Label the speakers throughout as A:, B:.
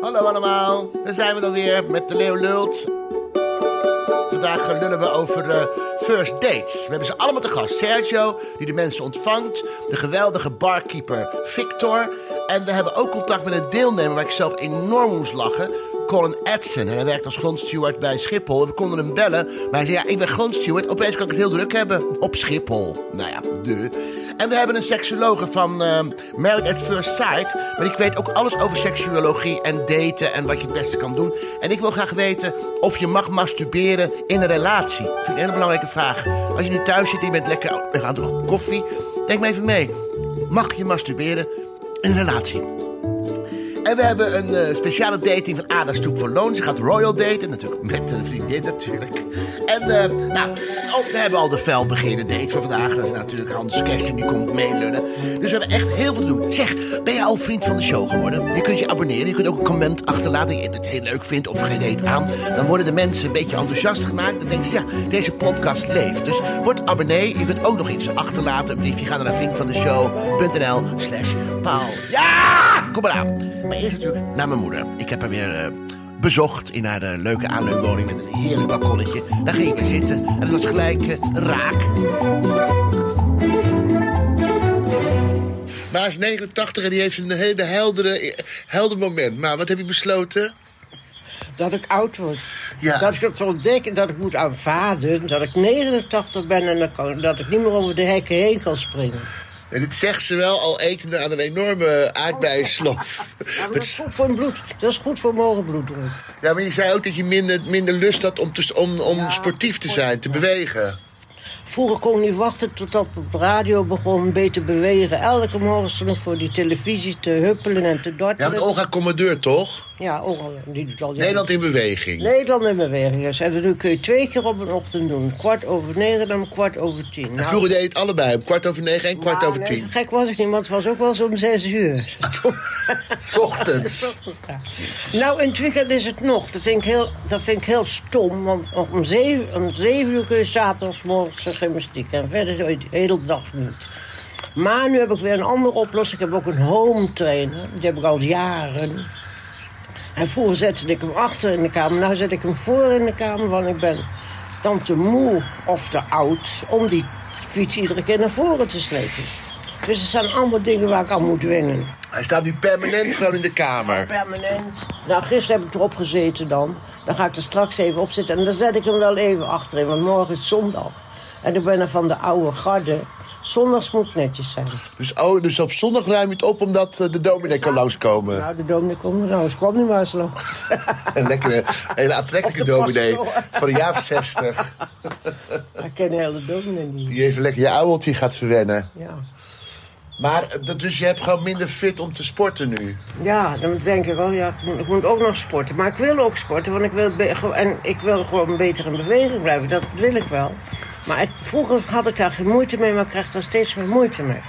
A: Hallo allemaal, daar zijn we dan weer met de Leeuw Lult. Vandaag eh, lullen we over eh, first dates. We hebben ze allemaal te gast. Sergio, die de mensen ontvangt. De geweldige barkeeper Victor. En we hebben ook contact met een deelnemer waar ik zelf enorm moest lachen. Colin Edson. En hij werkt als grondsteward bij Schiphol. En we konden hem bellen. Maar hij zei, ja, ik ben grondsteward. Opeens kan ik het heel druk hebben. Op Schiphol. Nou ja, de. En we hebben een seksologe van ehm Married at First Sight. Maar ik weet ook alles over seksuologie en daten en wat je het beste kan doen. En ik wil graag weten of je mag masturberen in een relatie. Dat vind ik een hele belangrijke vraag. Als je nu thuis zit en je bent lekker aan de koffie, denk me even mee. Mag je masturberen in een relatie? En we hebben een eh, speciale dating van Ada Stoep voor Loon. Ze gaat royal daten, natuurlijk met een vriendin natuurlijk. En eh, nou, ook, we hebben al de felbegeerde date van vandaag. Dat is natuurlijk Hans Kersten, die komt meelullen. Dus we hebben echt heel veel te doen. Zeg, ben je al vriend van de show geworden? Je kunt je abonneren, je kunt ook een comment achterlaten... dat je het heel leuk vindt of geen date aan. Dan worden de mensen een beetje enthousiast gemaakt. Dan denken ze, ja, deze podcast leeft. Dus word abonnee. Je kunt ook nog iets achterlaten. Een briefje, ga naar vriendvandeshow.nl slash paal. Ja! Kom maar aan. Maar eerst natuurlijk naar mijn moeder. Ik heb haar weer eh, bezocht in haar eh, leuke aanleunwoning met een heerlijk balkonnetje. Daar ging ik weer zitten en het was gelijk eh, raak.
B: Maar hij is 89 en die heeft een hele heldere, helder moment. Maar wat heb je besloten?
C: Dat ik oud word.
B: Ja.
C: Dat ik het ontdek en dat ik moet aanvaarden dat ik 89 ben en dan kan- dat ik niet meer over de hekken heen kan springen.
B: En dit zegt ze wel al etende aan een enorme aardbeiensloof.
C: Ja, maar dat
B: Met
C: is
B: s-
C: goed voor een bloed. Dat is goed voor morgen bloeddruk.
B: ja, maar je zei ook dat je minder, minder lust had om, te, om, om sportief te zijn, te bewegen.
C: Vroeger kon ik niet wachten totdat op de radio begon een beetje bewegen. Elke morgen stond ik voor die televisie te huppelen en te
B: Ja,
C: dartelen.
B: met Olga Commandeur toch?
C: Ja, Olga, die doet al
B: Nederland in beweging.
C: Nederland in beweging. is. En dat kun je twee keer op een ochtend doen. Kwart over negen en om kwart over tien. Nou,
B: Vroeger deed je het allebei, om kwart over negen en kwart
C: nou,
B: over
C: nee, zo
B: tien.
C: Gek was ik niet, want het was ook wel eens om zes uur.
B: S ochtends.
C: Nou, in het weekend is het nog. Dat vind ik heel, dat vind ik heel stom. Want om zeven, om zeven uur kun je zaterdagmorgens de gymnastiek. En verder de hele dag niet. Maar nu heb ik weer een andere oplossing. Ik heb ook een home trainer. Die heb ik al jaren. En vroeger zette ik hem achter in de kamer. Nu zet ik hem voor in de kamer. Want ik ben dan te moe of te oud om die fiets iedere keer naar voren te slepen. Dus er zijn allemaal dingen waar ik aan moet winnen.
B: Hij staat nu permanent gewoon in de kamer.
C: Permanent. Nou, gisteren heb ik erop gezeten dan. Dan ga ik er straks even op zitten. En dan zet ik hem wel even achterin, want morgen is zondag. En ik ben er van de oude garde. Zondags moet ik netjes zijn.
B: Dus, oh, dus op zondag ruim je het op omdat eh, de dominee kan langskomen.
C: Nou, de dominee komt er nou, eens. kwam niet maar eens langs.
B: Een lekkere, eh, hele aantrekkelijke
C: Op de
B: dominee
C: pastoor.
B: van de jaar 60.
C: Ik ken de hele dominee niet.
B: Die even lekker je ouweltje gaat verwennen.
C: Ja.
B: Maar eh, dat- dus je hebt gewoon minder fit om te sporten nu.
C: ja, dan denk ik wel, ja, ik moet, ik moet ook nog sporten. Maar ik wil ook sporten, want ik wil, be- ge- en ik wil gewoon beter in beweging blijven. Dat wil ik wel. Maar het- vroeger had ik daar geen moeite mee, maar ik krijg daar steeds meer moeite mee.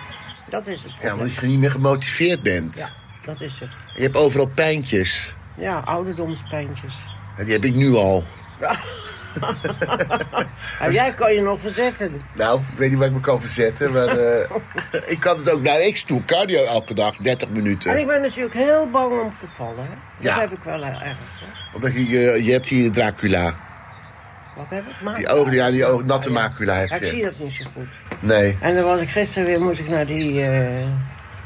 C: Dat is het
B: Ja,
C: probleem.
B: omdat je niet meer gemotiveerd bent.
C: Ja, dat is het.
B: Je hebt overal pijntjes.
C: Ja, ouderdomspijntjes.
B: En die heb ik nu al.
C: En Nou, jij kan je nog verzetten.
B: Nou, ik weet niet waar ik me kan verzetten, maar eh, ik kan het ook. Nou, ik doe cardio elke dag, 30
C: En
B: minuten.
C: ik ben natuurlijk heel bang om te vallen. Hè? Dat
B: Ja.
C: heb ik wel heel erg. Hè?
B: Omdat je, je, je hebt hier Dracula.
C: Wat heb ik? Maar...
B: Die ogen, ja, die ogen, natte macula
C: Ah, Ja,
B: heb
C: ik zie
B: je.
C: dat niet zo goed.
B: Nee.
C: En dan was ik gisteren weer, moest ik naar die... eh,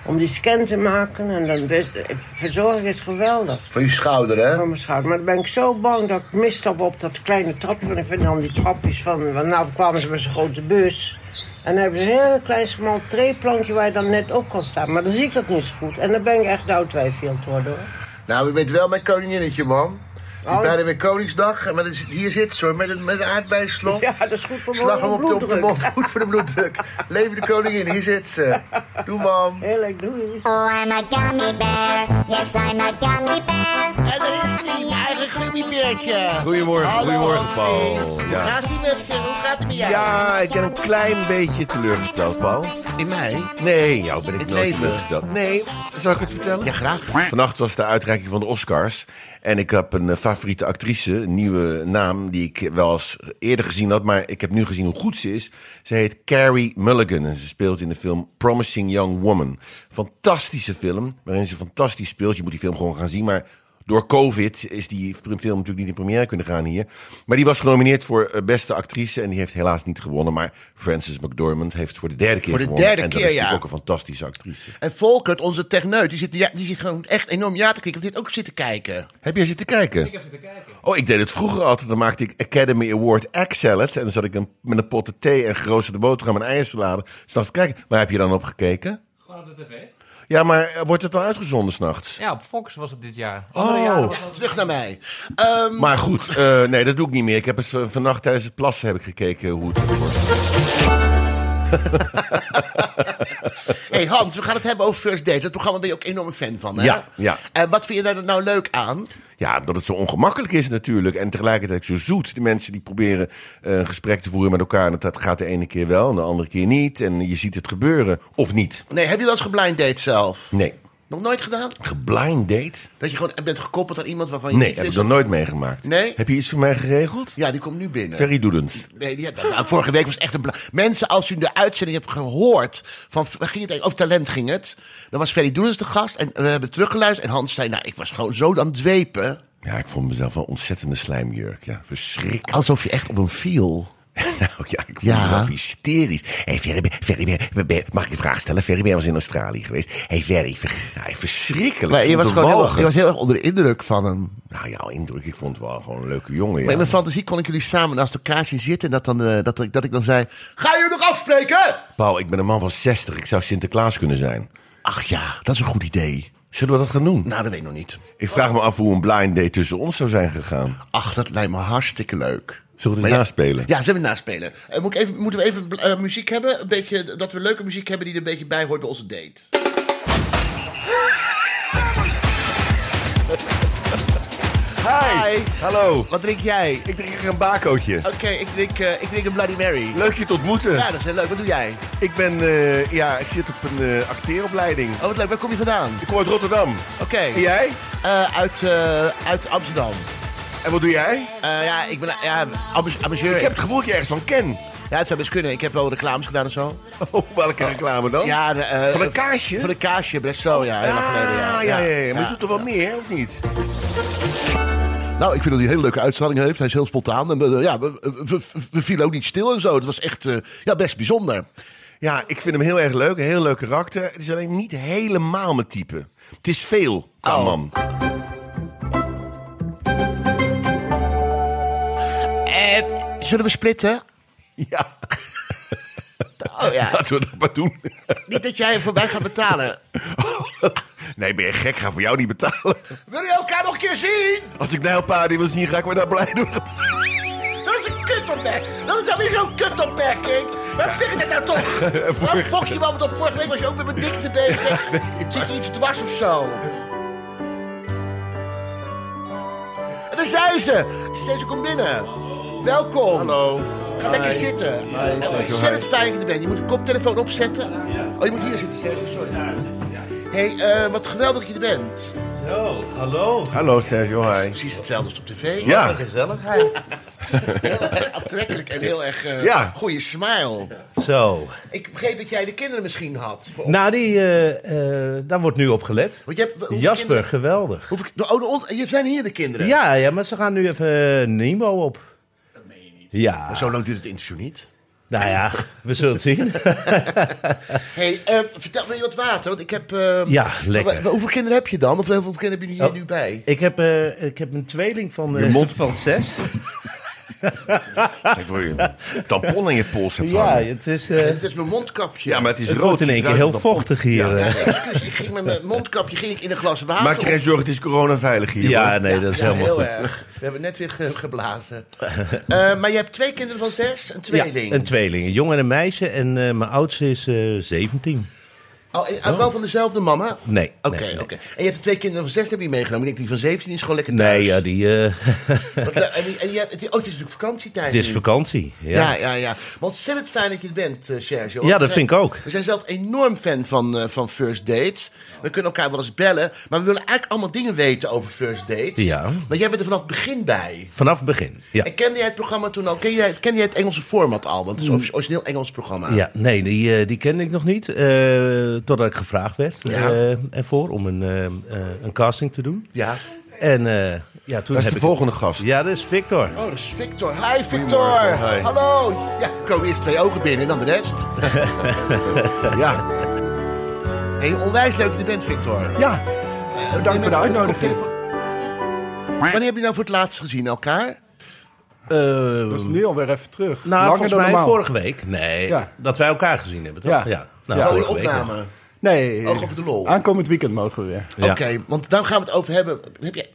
C: om die scan te maken. En dan, dus, eh, verzorging is geweldig
B: Van je schouder, hè?
C: van mijn schouder. Maar dan ben ik zo bang dat ik misstap op dat kleine trapje. Want ik vind dan die trapjes van... Want nou kwamen ze met zo'n grote bus. En dan heb je een heel klein smal treeplankje waar je dan net op kan staan. Maar dan zie ik dat niet zo goed. En dan ben ik echt oud wijfje aan het worden hoor.
B: Nou, je bent wel mijn koninginnetje, man. Het is
C: Oh.
B: bijna weer Koningsdag, maar dan zit- hier zit ze hoor, met een, met een aardbeienslot.
C: Ja, dat is goed voor
B: Slag hem
C: morgen
B: op de, op de
C: bloeddruk.
B: mond, goed voor de bloeddruk. Leven de koningin, hier zit ze. Doe man.
C: Heerlijk, doei.
D: Oh, I'm a gummy bear. Yes, I'm a gummy bear. Oh,
A: En daar is hij, je eigen gummibeertje.
E: Goedemorgen,
A: Hallo,
E: goedemorgen,
A: Hansie.
E: Paul.
A: Hoe
E: Ja.
A: gaat die met je? Hoe gaat het met jou?
E: Ja, ik ben een klein beetje teleurgesteld, Paul.
A: In mij?
E: Nee, in jou ben ik
A: Het
E: nooit
A: leven.
E: teleurgesteld. Nee, zal ik het vertellen?
A: Ja, graag.
E: Vannacht was de uitreiking van de Oscars. En ik heb een eh, favoriete actrice, een nieuwe naam... die ik wel eens eerder gezien had, maar ik heb nu gezien hoe goed ze is. Ze heet Carrie Mulligan en ze speelt in de film Promising Young Woman. Fantastische film, waarin ze fantastisch speelt. Je moet die film gewoon gaan zien, maar... Door COVID is die film natuurlijk niet in première kunnen gaan hier. Maar die was genomineerd voor eh, beste actrice en die heeft helaas niet gewonnen. Maar Frances McDormand heeft voor de derde keer
A: Voor de
E: gewonnen.
A: derde
E: en dat
A: keer,
E: is natuurlijk
A: ja.
E: ook een fantastische actrice.
A: En Volkert, onze techneut, die zit, ja, die zit gewoon echt enorm ja te kijken. Want die heeft ook zitten kijken.
E: Heb jij zitten kijken? Ik heb zitten kijken. Oh, ik deed het vroeger altijd. Dan maakte ik Academy Award egg salad. En dan zat ik een, met een potte thee en geroosterde boterham en eiersalade. S'nachts te kijken. Waar heb je dan op gekeken?
F: Gewoon op de tv.
E: Ja, maar eh, wordt het dan uitgezonden s'nachts?
F: Ja, op Fox was het dit jaar.
E: Oh.
A: Terug naar mij. Ehm,
E: Maar goed, eh, nee, dat doe ik niet meer. Ik heb het eh, vannacht tijdens het plassen heb ik gekeken hoe het was.
A: hey Hans, we gaan het hebben over First Dates. Dat programma ben je ook enorm een fan van, hè?
E: Ja, ja.
A: En wat vind je daar nou leuk aan?
E: Ja, dat het zo ongemakkelijk is natuurlijk. En tegelijkertijd zo zoet. Die mensen die proberen eh, een gesprek te voeren met elkaar. En dat gaat de ene keer wel en de andere keer niet. En je ziet het gebeuren. Of niet.
A: Nee, heb je wel eens geblind date zelf?
E: Nee.
A: Nog nooit gedaan?
E: Geblind date?
A: Dat je gewoon bent gekoppeld aan iemand waarvan je
E: Nee,
A: niet
E: heb ik
A: wist...
E: nog nooit meegemaakt.
A: Nee?
E: Heb je iets voor mij geregeld?
A: Ja, die komt nu binnen.
E: Ferry Doedens.
A: Nee, die heb- nou, vorige week was echt een... bla- Mensen, als u de uitzending hebt gehoord... Van, waar ging het eigenlijk? Over talent ging het. Dan was Ferry Doenens de gast. En we hebben teruggeluisterd. En Hans zei, nou, ik was gewoon zo aan het dwepen.
E: Ja, ik vond mezelf wel een ontzettende slijmjurk. Ja, verschrikkelijk.
A: Alsof je echt op een viel.
E: Nou ja, ik vond
A: Ja.
E: mezelf hysterisch. Hey, Ferry, ben- Ferry, ben- ben- ben- mag ik een vraag stellen? Ferry, ben je was in Australië geweest? Hey, Ferry, ver- ja, verschrikkelijk.
A: Maar
E: Ik
A: je
E: vond
A: was
E: het
A: gewoon heel,
E: walgelijk.
A: je was heel erg onder de indruk van hem.
E: Nou, jouw indruk, ik vond het wel gewoon een leuke jongen. Ja.
A: Maar in mijn fantasie kon ik jullie samen naast elkaar zien zitten. En dat, dan, eh, dat, ik- dat ik dan zei, ga je nog afspreken?
E: Paul, ik ben een man van 60. Ik zou Sinterklaas kunnen zijn.
A: Ach ja, dat is een goed idee.
E: Zullen we dat gaan doen?
A: Nou, dat weet ik nog niet.
E: Ik vraag me af hoe een blind date tussen ons zou zijn gegaan.
A: Ach, dat lijkt me hartstikke leuk.
E: Zullen we het
A: Maar ja-
E: naspelen?
A: Ja, zullen we naspelen? Eh, moet ik even, moeten we even eh, muziek hebben? Een beetje, dat we leuke muziek hebben die er een beetje bij hoort bij onze date. Hi.
E: Hallo.
A: Wat drink jij?
E: Ik drink er een bakootje.
A: Oké, ik, drink, eh, ik drink een Bloody Mary.
E: Leuk je te ontmoeten.
A: Ja, dat is heel leuk. Wat doe jij?
E: Ik ben, eh, ja, ik zit op een eh, acteeropleiding.
A: Oh, wat leuk. Waar kom je vandaan?
E: Ik kom uit Rotterdam.
A: Oké.
E: En jij?
A: Eh, uit, eh, uit Amsterdam.
E: En wat doe jij?
A: Eh, ja, ik ben ja, ambi- amateur.
E: Ik heb het gevoel dat je ergens van ken.
A: Ja, het zou best kunnen. Ik heb wel reclames gedaan en zo.
E: Oh, welke reclame dan?
A: Ja, de, eh,
E: Van een kaasje?
A: Van een kaasje, best zo, ja. Heel lang geleden,
E: ja, ja, ja, ja. Maar je doet er wel
A: ja.
E: meer, of niet?
A: Nou, ik vind dat hij een hele leuke uitstraling heeft. Hij is heel spontaan. En, eh, ja, we, we- we- we vielen ook niet stil en zo. Dat was echt eh, ja, best bijzonder.
E: Ja, ik vind hem heel erg leuk. Een heel leuk karakter. Het is alleen niet helemaal mijn type. Het is veel, qua
A: Oh.
E: man.
A: Eh, Zullen we splitten?
E: Ja,
A: Oh ja.
E: laten we dat maar doen.
A: niet dat jij voor mij gaat betalen.
E: Nee, ben je gek? Ik Ga voor jou niet betalen.
A: Wil je elkaar nog een keer zien?
E: Als ik naar jouw party wil zien, ga ik me daar blij doen.
A: Dat is een kutopmerking. Dat is alweer zo'n kutopmerking. Waarom zeg je dat nou toch? Waarom
E: Vorige-
A: vocht je me altijd op vorige week? Was je ook met mijn dikte bezig? Zit je iets dwars of zo? En daar zijn ze. Steeds komt binnen. Welkom.
E: Hallo.
A: Ga lekker zitten. En ontzettend fijn dat je er bent. Je moet de koptelefoon opzetten. Oh, je moet hier zitten, Sergio. Sorry. Hé, hey, eh, wat geweldig dat je er bent.
G: Zo, hallo.
E: Hallo, Sergio. Hi.
A: Precies hetzelfde als op tv.
E: Ja,
G: Gezelligheid.
A: Heel erg aantrekkelijk en heel erg eh
E: Ja.
A: goede smile.
G: Zo.
A: Ik begreep dat jij de kinderen misschien had. Voor-
G: Nou, die, eh, eh, daar wordt nu op gelet.
A: Want je hebt, hoeveel
G: Jasper,
A: kinderen-
G: geweldig.
A: hoeveel- de- oh, de ont- je zijn hier de kinderen.
G: Ja, ja, maar ze gaan nu even eh, Nemo op. Dat meen je niet. Ja,
A: Zo lang duurt het interview niet.
G: nou ja, we zullen het zien.
A: hey, eh, vertel me wat water. Want ik heb. eh,
G: Ja, lekker. Oh.
A: wa- wa- Hoeveel kinderen heb je dan? Of hoeveel kinderen hebben jullie hier nu bij?
G: Ik heb, eh, ik heb een tweeling van, eh,
E: Je mond-
G: van zes.
E: ik wil je een tampon aan je pols hebben
G: Ja,
E: hangen.
G: het is... eh,
A: Dit is mijn mondkapje.
E: Ja, maar het is
G: het
E: rood.
G: wordt in één
E: Het
G: keer
E: ruikt
G: heel
E: op-
G: vochtig hier.
A: Ja,
G: eh.
A: excuus, ik ging met mijn mondkapje ging ik in een glas water.
E: Maak je geen zorgen, het is coronaveilig hier.
G: Ja,
E: hoor.
G: nee, dat is
A: Ja,
G: helemaal
A: heel
G: goed.
A: erg. We hebben net weer ge- geblazen. Eh, maar je hebt twee kinderen van zes, een
G: Ja,
A: tweeling.
G: een tweeling. Een jongen en een meisje. En eh, mijn oudste is eh 17.
A: Oh, en- en wel van dezelfde mama?
G: Nee.
A: Oké,
G: nee,
A: oké. En je hebt de twee kinderen van zes heb je meegenomen. Ik denk die van 17 is gewoon lekker thuis.
G: Nee, ja, die, eh,
A: Want, eh, en, die- en je hebt, het, oh, het is natuurlijk vakantietijd.
G: het is
A: nu.
G: vakantie.
A: Ja, ja, ja. Maar ontzettend fijn dat je het bent, eh, Sergio.
G: Ja, dat vind ik ook.
A: We zijn zelf enorm fan van, eh, van First Dates. We kunnen elkaar wel eens bellen. Maar we willen eigenlijk allemaal dingen weten over First Dates.
G: Ja.
A: Maar jij bent er vanaf het begin bij.
G: Vanaf het begin. Ja.
A: En kende jij het programma toen al? Ken jij, ken jij het Engelse format al? Want het is een origineel Engels programma.
G: Mm. Ja, nee, die, eh, die kende ik nog niet. eh, totdat ik gevraagd werd
A: Ja.
G: eh, ervoor om een, eh, eh, een casting te doen.
A: Ja.
G: En eh, ja, toen
E: Dat is
G: heb
E: de
G: ik-
E: volgende gast.
G: Ja, dat is Victor.
A: Oh, dat is Victor. Hi, Victor.
E: Goedemorgen, hi.
A: Hallo. Ja, er komen eerst twee ogen binnen en dan de rest. ja. Hey, onwijs leuk dat je bent, Victor.
H: Ja, bedankt voor de uitnodiging.
A: Wanneer heb je nou voor het laatst gezien elkaar?
G: Eh,
H: Dat is nu alweer even terug.
G: Nou,
H: Langer
G: volgens
H: dan
G: mij
H: normaal.
G: vorige week. Nee,
H: Ja.
G: dat wij elkaar gezien hebben, toch?
H: Ja.
G: Nou,
H: Ja.
A: Oh, de
G: vorige week nog.
A: opname.
H: Nee,
A: Oog op de lol.
H: aankomend weekend mogen we weer.
G: Ja.
A: Oké, want daar gaan we het over hebben. Heb jij,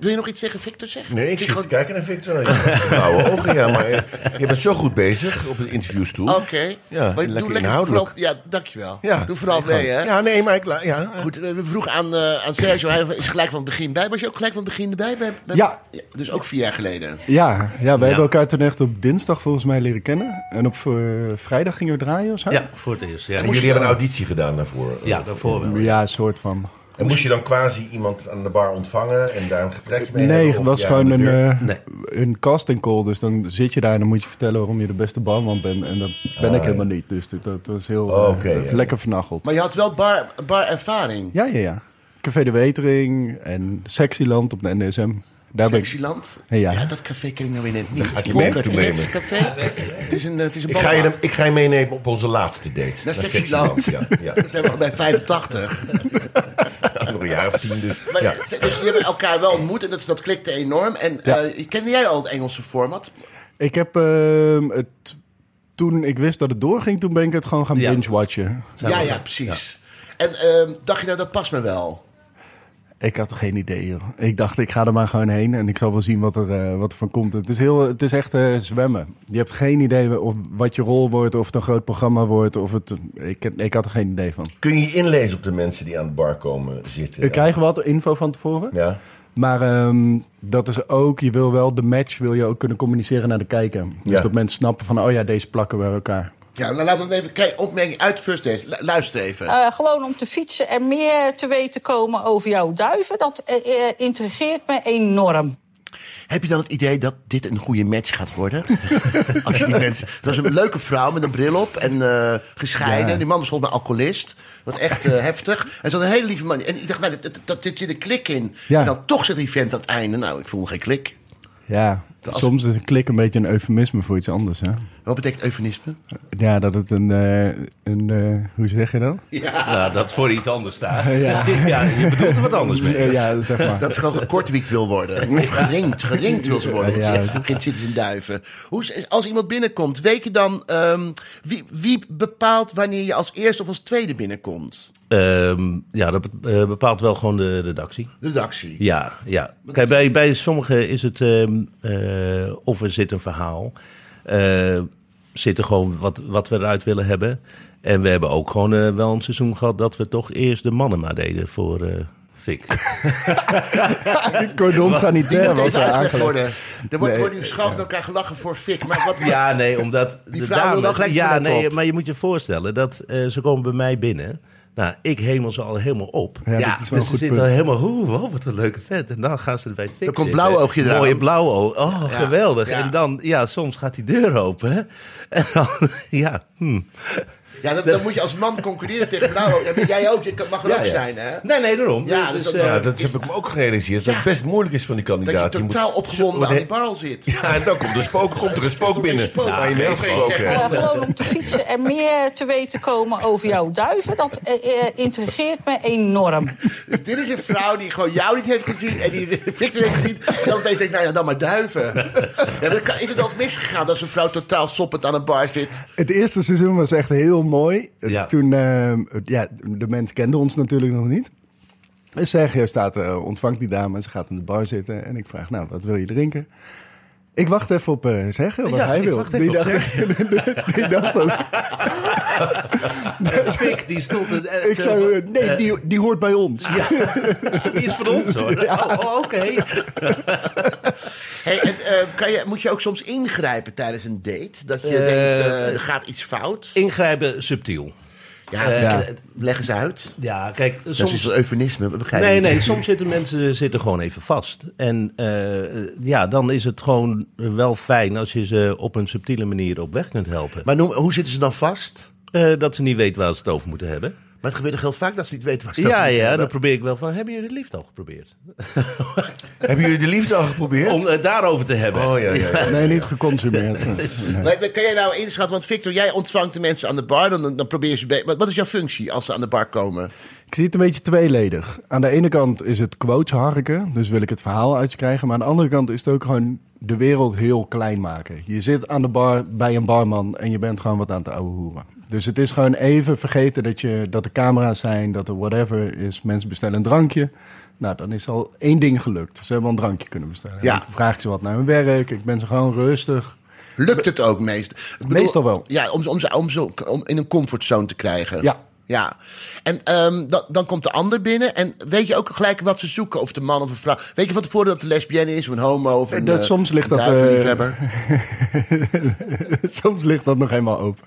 A: wil je nog iets zeggen, Victor? Zeg?
E: Nee,
A: Zeg
E: ik zit te
A: gewoon-
E: kijken naar Victor. Ja. Blauwe ogen, ja, maar eh, je bent zo goed bezig op het interviewstoel.
A: Oké.
E: Ja,
A: Maar
E: lekker
A: vooral,
E: inhoudelijk.
A: ja, dankjewel.
E: Ja.
A: Doe vooral mee, hè?
E: Ja, nee, maar ik... la- Ja,
A: Goed, eh, we vroegen aan, eh, aan Sergio, hij is gelijk van het begin bij. Was je ook gelijk van het begin erbij? Bij, bij-
H: Ja.
A: Dus ook vier jaar geleden.
H: Ja, ja we hebben elkaar toen echt op dinsdag volgens mij leren kennen. En op eh, vrijdag gingen we draaien of zo?
G: Ja, voor het eerst. Ja,
E: En jullie hebben een auditie gedaan daarvoor.
G: ja daarvoor wel.
H: Ja, een soort van.
E: En moest je dan quasi iemand aan de bar ontvangen en daar een gesprekje mee
H: Nee,
E: hebben?
H: het
E: Of
H: was
E: ja,
H: gewoon
E: aan
H: een,
E: de deur?
H: eh, een casting call. Dus dan zit je daar en dan moet je vertellen waarom je de beste barman bent. En dat ben ik helemaal niet. Dus dat, dat was heel eh,
E: Oké, ja.
H: lekker vernacheld.
A: Maar je had wel bar, bar ervaring.
H: Ja, ja, ja. Café de Wetering en Sexyland op de NSM. Daar ben ik...
A: Sexyland?
H: Ja.
A: ja, dat café ken ik nou weer net niet.
E: ga ik je
A: Volk,
E: mee
A: het
E: toe nemen.
A: Britse café. Het is een, eh, het is een
E: Ik ga, je,
A: ballenbaan.
E: hem- ik ga je meenemen op onze laatste date.
A: Naar
E: Sexyland.
A: Sexyland.
E: Ja, ja.
A: Dan zijn we al bij 85.
E: Nog een jaar of tien dus.
A: Maar,
E: Ja.
A: ze- Dus jullie hebben elkaar wel ontmoet en dat, dat klikte enorm. En eh, kende jij al het Engelse format?
H: Ik heb ehm, het... Toen ik wist dat het doorging, toen ben ik het gewoon gaan
G: Ja.
H: binge-watchen.
A: ja, ja, precies. En ehm, dacht je nou, dat past me wel?
H: Ik had geen idee, joh. Ik dacht, ik ga er maar gewoon heen en ik zal wel zien wat er, eh, wat er van komt. Het is, heel, het is echt eh, zwemmen. Je hebt geen idee of wat je rol wordt, of het een groot programma wordt. Of het, ik, ik had er geen idee van.
E: Kun je je inlezen op de mensen die aan de bar komen zitten?
H: We krijgen wat info van tevoren.
E: Ja.
H: Maar ehm, dat is ook, je wil wel de match wil je ook kunnen communiceren naar de kijker. Dus
E: Ja.
H: dat mensen snappen van, oh ja, deze plakken bij elkaar.
A: Ja, nou, laten we het even kijken. Opmerking uit First Days. Lu- Luister even.
I: Eh, gewoon om te fietsen en meer te weten komen over jouw duiven. Dat eh, eh, intrigeert me enorm.
A: Heb je dan het idee dat dit een goede match gaat worden? Als je die mensen... Het was een leuke vrouw met een bril op en eh, gescheiden. Die man was volgens mij alcoholist. Dat was echt eh, heftig. En ze had een hele lieve man. En ik dacht, nou, dat, dat, dat dit zit een klik in.
H: Ja.
A: En dan toch zegt die vent aan het einde. Nou, ik voel geen klik.
H: Ja, soms is een klik een beetje een eufemisme voor iets anders, hè.
A: Wat betekent eufemisme?
H: Ja, dat het een, eh, een eh, hoe zeg je dat?
G: Nou, dat voor iets anders staat. Ja. je bedoelt er wat anders mee.
H: Eh, ja, zeg maar.
A: Dat ze gewoon gekortwiekt wil worden. Of geringd. Geringd wil ze worden.
H: Ja,
A: Ja, Kind zitten in duiven. Hoe, is- als iemand binnenkomt, weet je dan... ehm, wie, wie bepaalt wanneer je als eerste of als tweede binnenkomt?
G: Ehm, ja, dat be- eh, bepaalt wel gewoon de redactie.
A: De redactie.
G: Ja, ja. Kijk, bij, bij sommigen is het ehm, eh, of er zit een verhaal. eh, zit er gewoon wat, wat we eruit willen hebben. En we hebben ook gewoon eh, wel een seizoen gehad dat we toch eerst de mannen maar deden voor eh Fik.
H: Cordon
A: Die
H: sanitair
A: moet
H: was
A: even
H: er
A: uitgelegd
H: eigenlijk.
A: worden. Er wordt,
H: Nee.
A: wordt nu schaft aan elkaar gelachen voor fik. Maar wat,
G: Ja, nee, omdat
A: Die
G: de
A: vrouw wil
G: dames...
A: dan gelijk
G: ja,
A: het toilet
G: nee,
A: op.
G: maar je moet je voorstellen dat eh, ze komen bij mij binnen. Nou, ik hemel ze al helemaal op.
A: Ja,
H: Ja, dat is
G: Dus
H: wel een
G: ze
H: goed
G: zitten al
H: punt.
G: helemaal, oeh, wow, wat een leuke vet. En dan gaan ze er bij het fik
A: Dan komt
G: zitten.
A: blauw oogje eraan.
G: Mooie blauwe oog. Oh,
A: Ja,
G: geweldig.
A: ja.
G: En dan, ja, soms gaat die deur open. hè. En dan, ja, hm.
A: ja, dan, dan moet je als man concurreren tegen blauw. Ja, maar jij ook, je kan- mag er
G: Ja,
A: ook
G: ja.
A: zijn, hè?
G: Nee, nee, daarom.
A: Ja, dus dat-
G: eh,
E: ja, dat heb ik me ook gerealiseerd. Dat het best moeilijk is van die
A: Dat je
E: kandidaat. Je moet-
A: totaal opgewonden aan
E: Zo-
A: die barrel zit.
E: Ja, en dan komt er, spook, komt er een spook binnen.
A: spook.
E: waar je mee
A: Ja,
E: afgesproken
A: geen
E: hebt.
I: Eh, gewoon om te fietsen en meer te weten komen over jouw duiven. Dat eh, eh, intrigeert me enorm.
A: Dus dit is een vrouw die gewoon jou niet heeft gezien en die Victor heeft gezien. En dan opeens denkt, nou ja, dan maar duiven. Ja, maar dat kan- is het al misgegaan als een vrouw totaal soppend aan een bar zit?
H: Het eerste seizoen was echt heel mooi.
G: Ja.
H: Toen, ehm, ja, de mensen kenden ons natuurlijk nog niet. En Sergio staat, eh, ontvangt die dame en ze gaat in de bar zitten. En ik vraag, nou, wat wil je drinken? Ik wacht even op eh Sergio, wat
G: Ja,
H: hij
G: ik
H: wil.
G: wacht even
H: die,
G: op
H: dacht, die dacht dat-
G: Fik, die stond... het echt,
H: Ik
G: eh,
H: zei, eh, nee, die, die hoort bij ons.
G: Ja, die is van ons hoor. Oh, oh, oké.
A: Hey, en, eh, kan je, moet je ook soms ingrijpen tijdens een date? Dat je
G: Eh,
A: denkt, eh, er gaat iets fout?
G: Ingrijpen subtiel.
A: Ja,
G: eh,
A: ja, leg eens uit.
G: Ja, kijk, soms...
A: Dat is een eufemisme, begrijp je
G: Nee,
A: niet?
G: nee, soms zitten mensen zitten gewoon even vast. En eh, ja, dan is het gewoon wel fijn als je ze op een subtiele manier op weg kunt helpen.
A: Maar noem, hoe zitten ze dan vast?
G: Eh, dat ze niet weten waar ze het over moeten hebben.
A: Maar het gebeurt toch heel vaak dat ze niet weten waar ze het
G: Ja,
A: over
G: ja,
A: moeten
G: dan
A: hebben?
G: probeer ik wel van, hebben jullie het liefst al geprobeerd?
E: Hebben jullie de liefde al geprobeerd?
G: Om het daarover te hebben.
E: Oh ja, ja, ja.
H: Nee, niet geconsumeerd. Nee.
A: Maar kan jij nou inschatten, want Victor, jij ontvangt de mensen aan de bar. Dan, dan probeer je ze... bij- Wat, wat is jouw functie als ze aan de bar komen?
H: Ik zie het een beetje tweeledig. Aan de ene kant is het quotes harken, dus wil ik het verhaal uitkrijgen. Maar aan de andere kant is het ook gewoon de wereld heel klein maken. Je zit aan de bar bij een barman en je bent gewoon wat aan het ouwe hoeren. Dus het is gewoon even vergeten dat, je, dat er camera's zijn, dat er whatever is. Mensen bestellen een drankje. Nou, dan is al één ding gelukt. Ze hebben al een drankje kunnen bestellen.
A: Ja.
H: Dan vraag ik ze wat naar hun werk. Ik ben ze gewoon rustig.
A: Lukt het ook meestal?
H: Meestal wel.
A: Ja, om, ze- om, ze- om, ze- om in een comfortzone te krijgen.
H: Ja.
A: Ja. En ehm, dan, dan komt de ander binnen en weet je ook gelijk wat ze zoeken. Of de man of een vrouw. Weet je van tevoren dat het een lesbienne is of een homo of een
H: Dat-
A: eh,
H: soms ligt dat, eh,
A: duivenliefhebber?
H: Soms ligt dat nog helemaal open.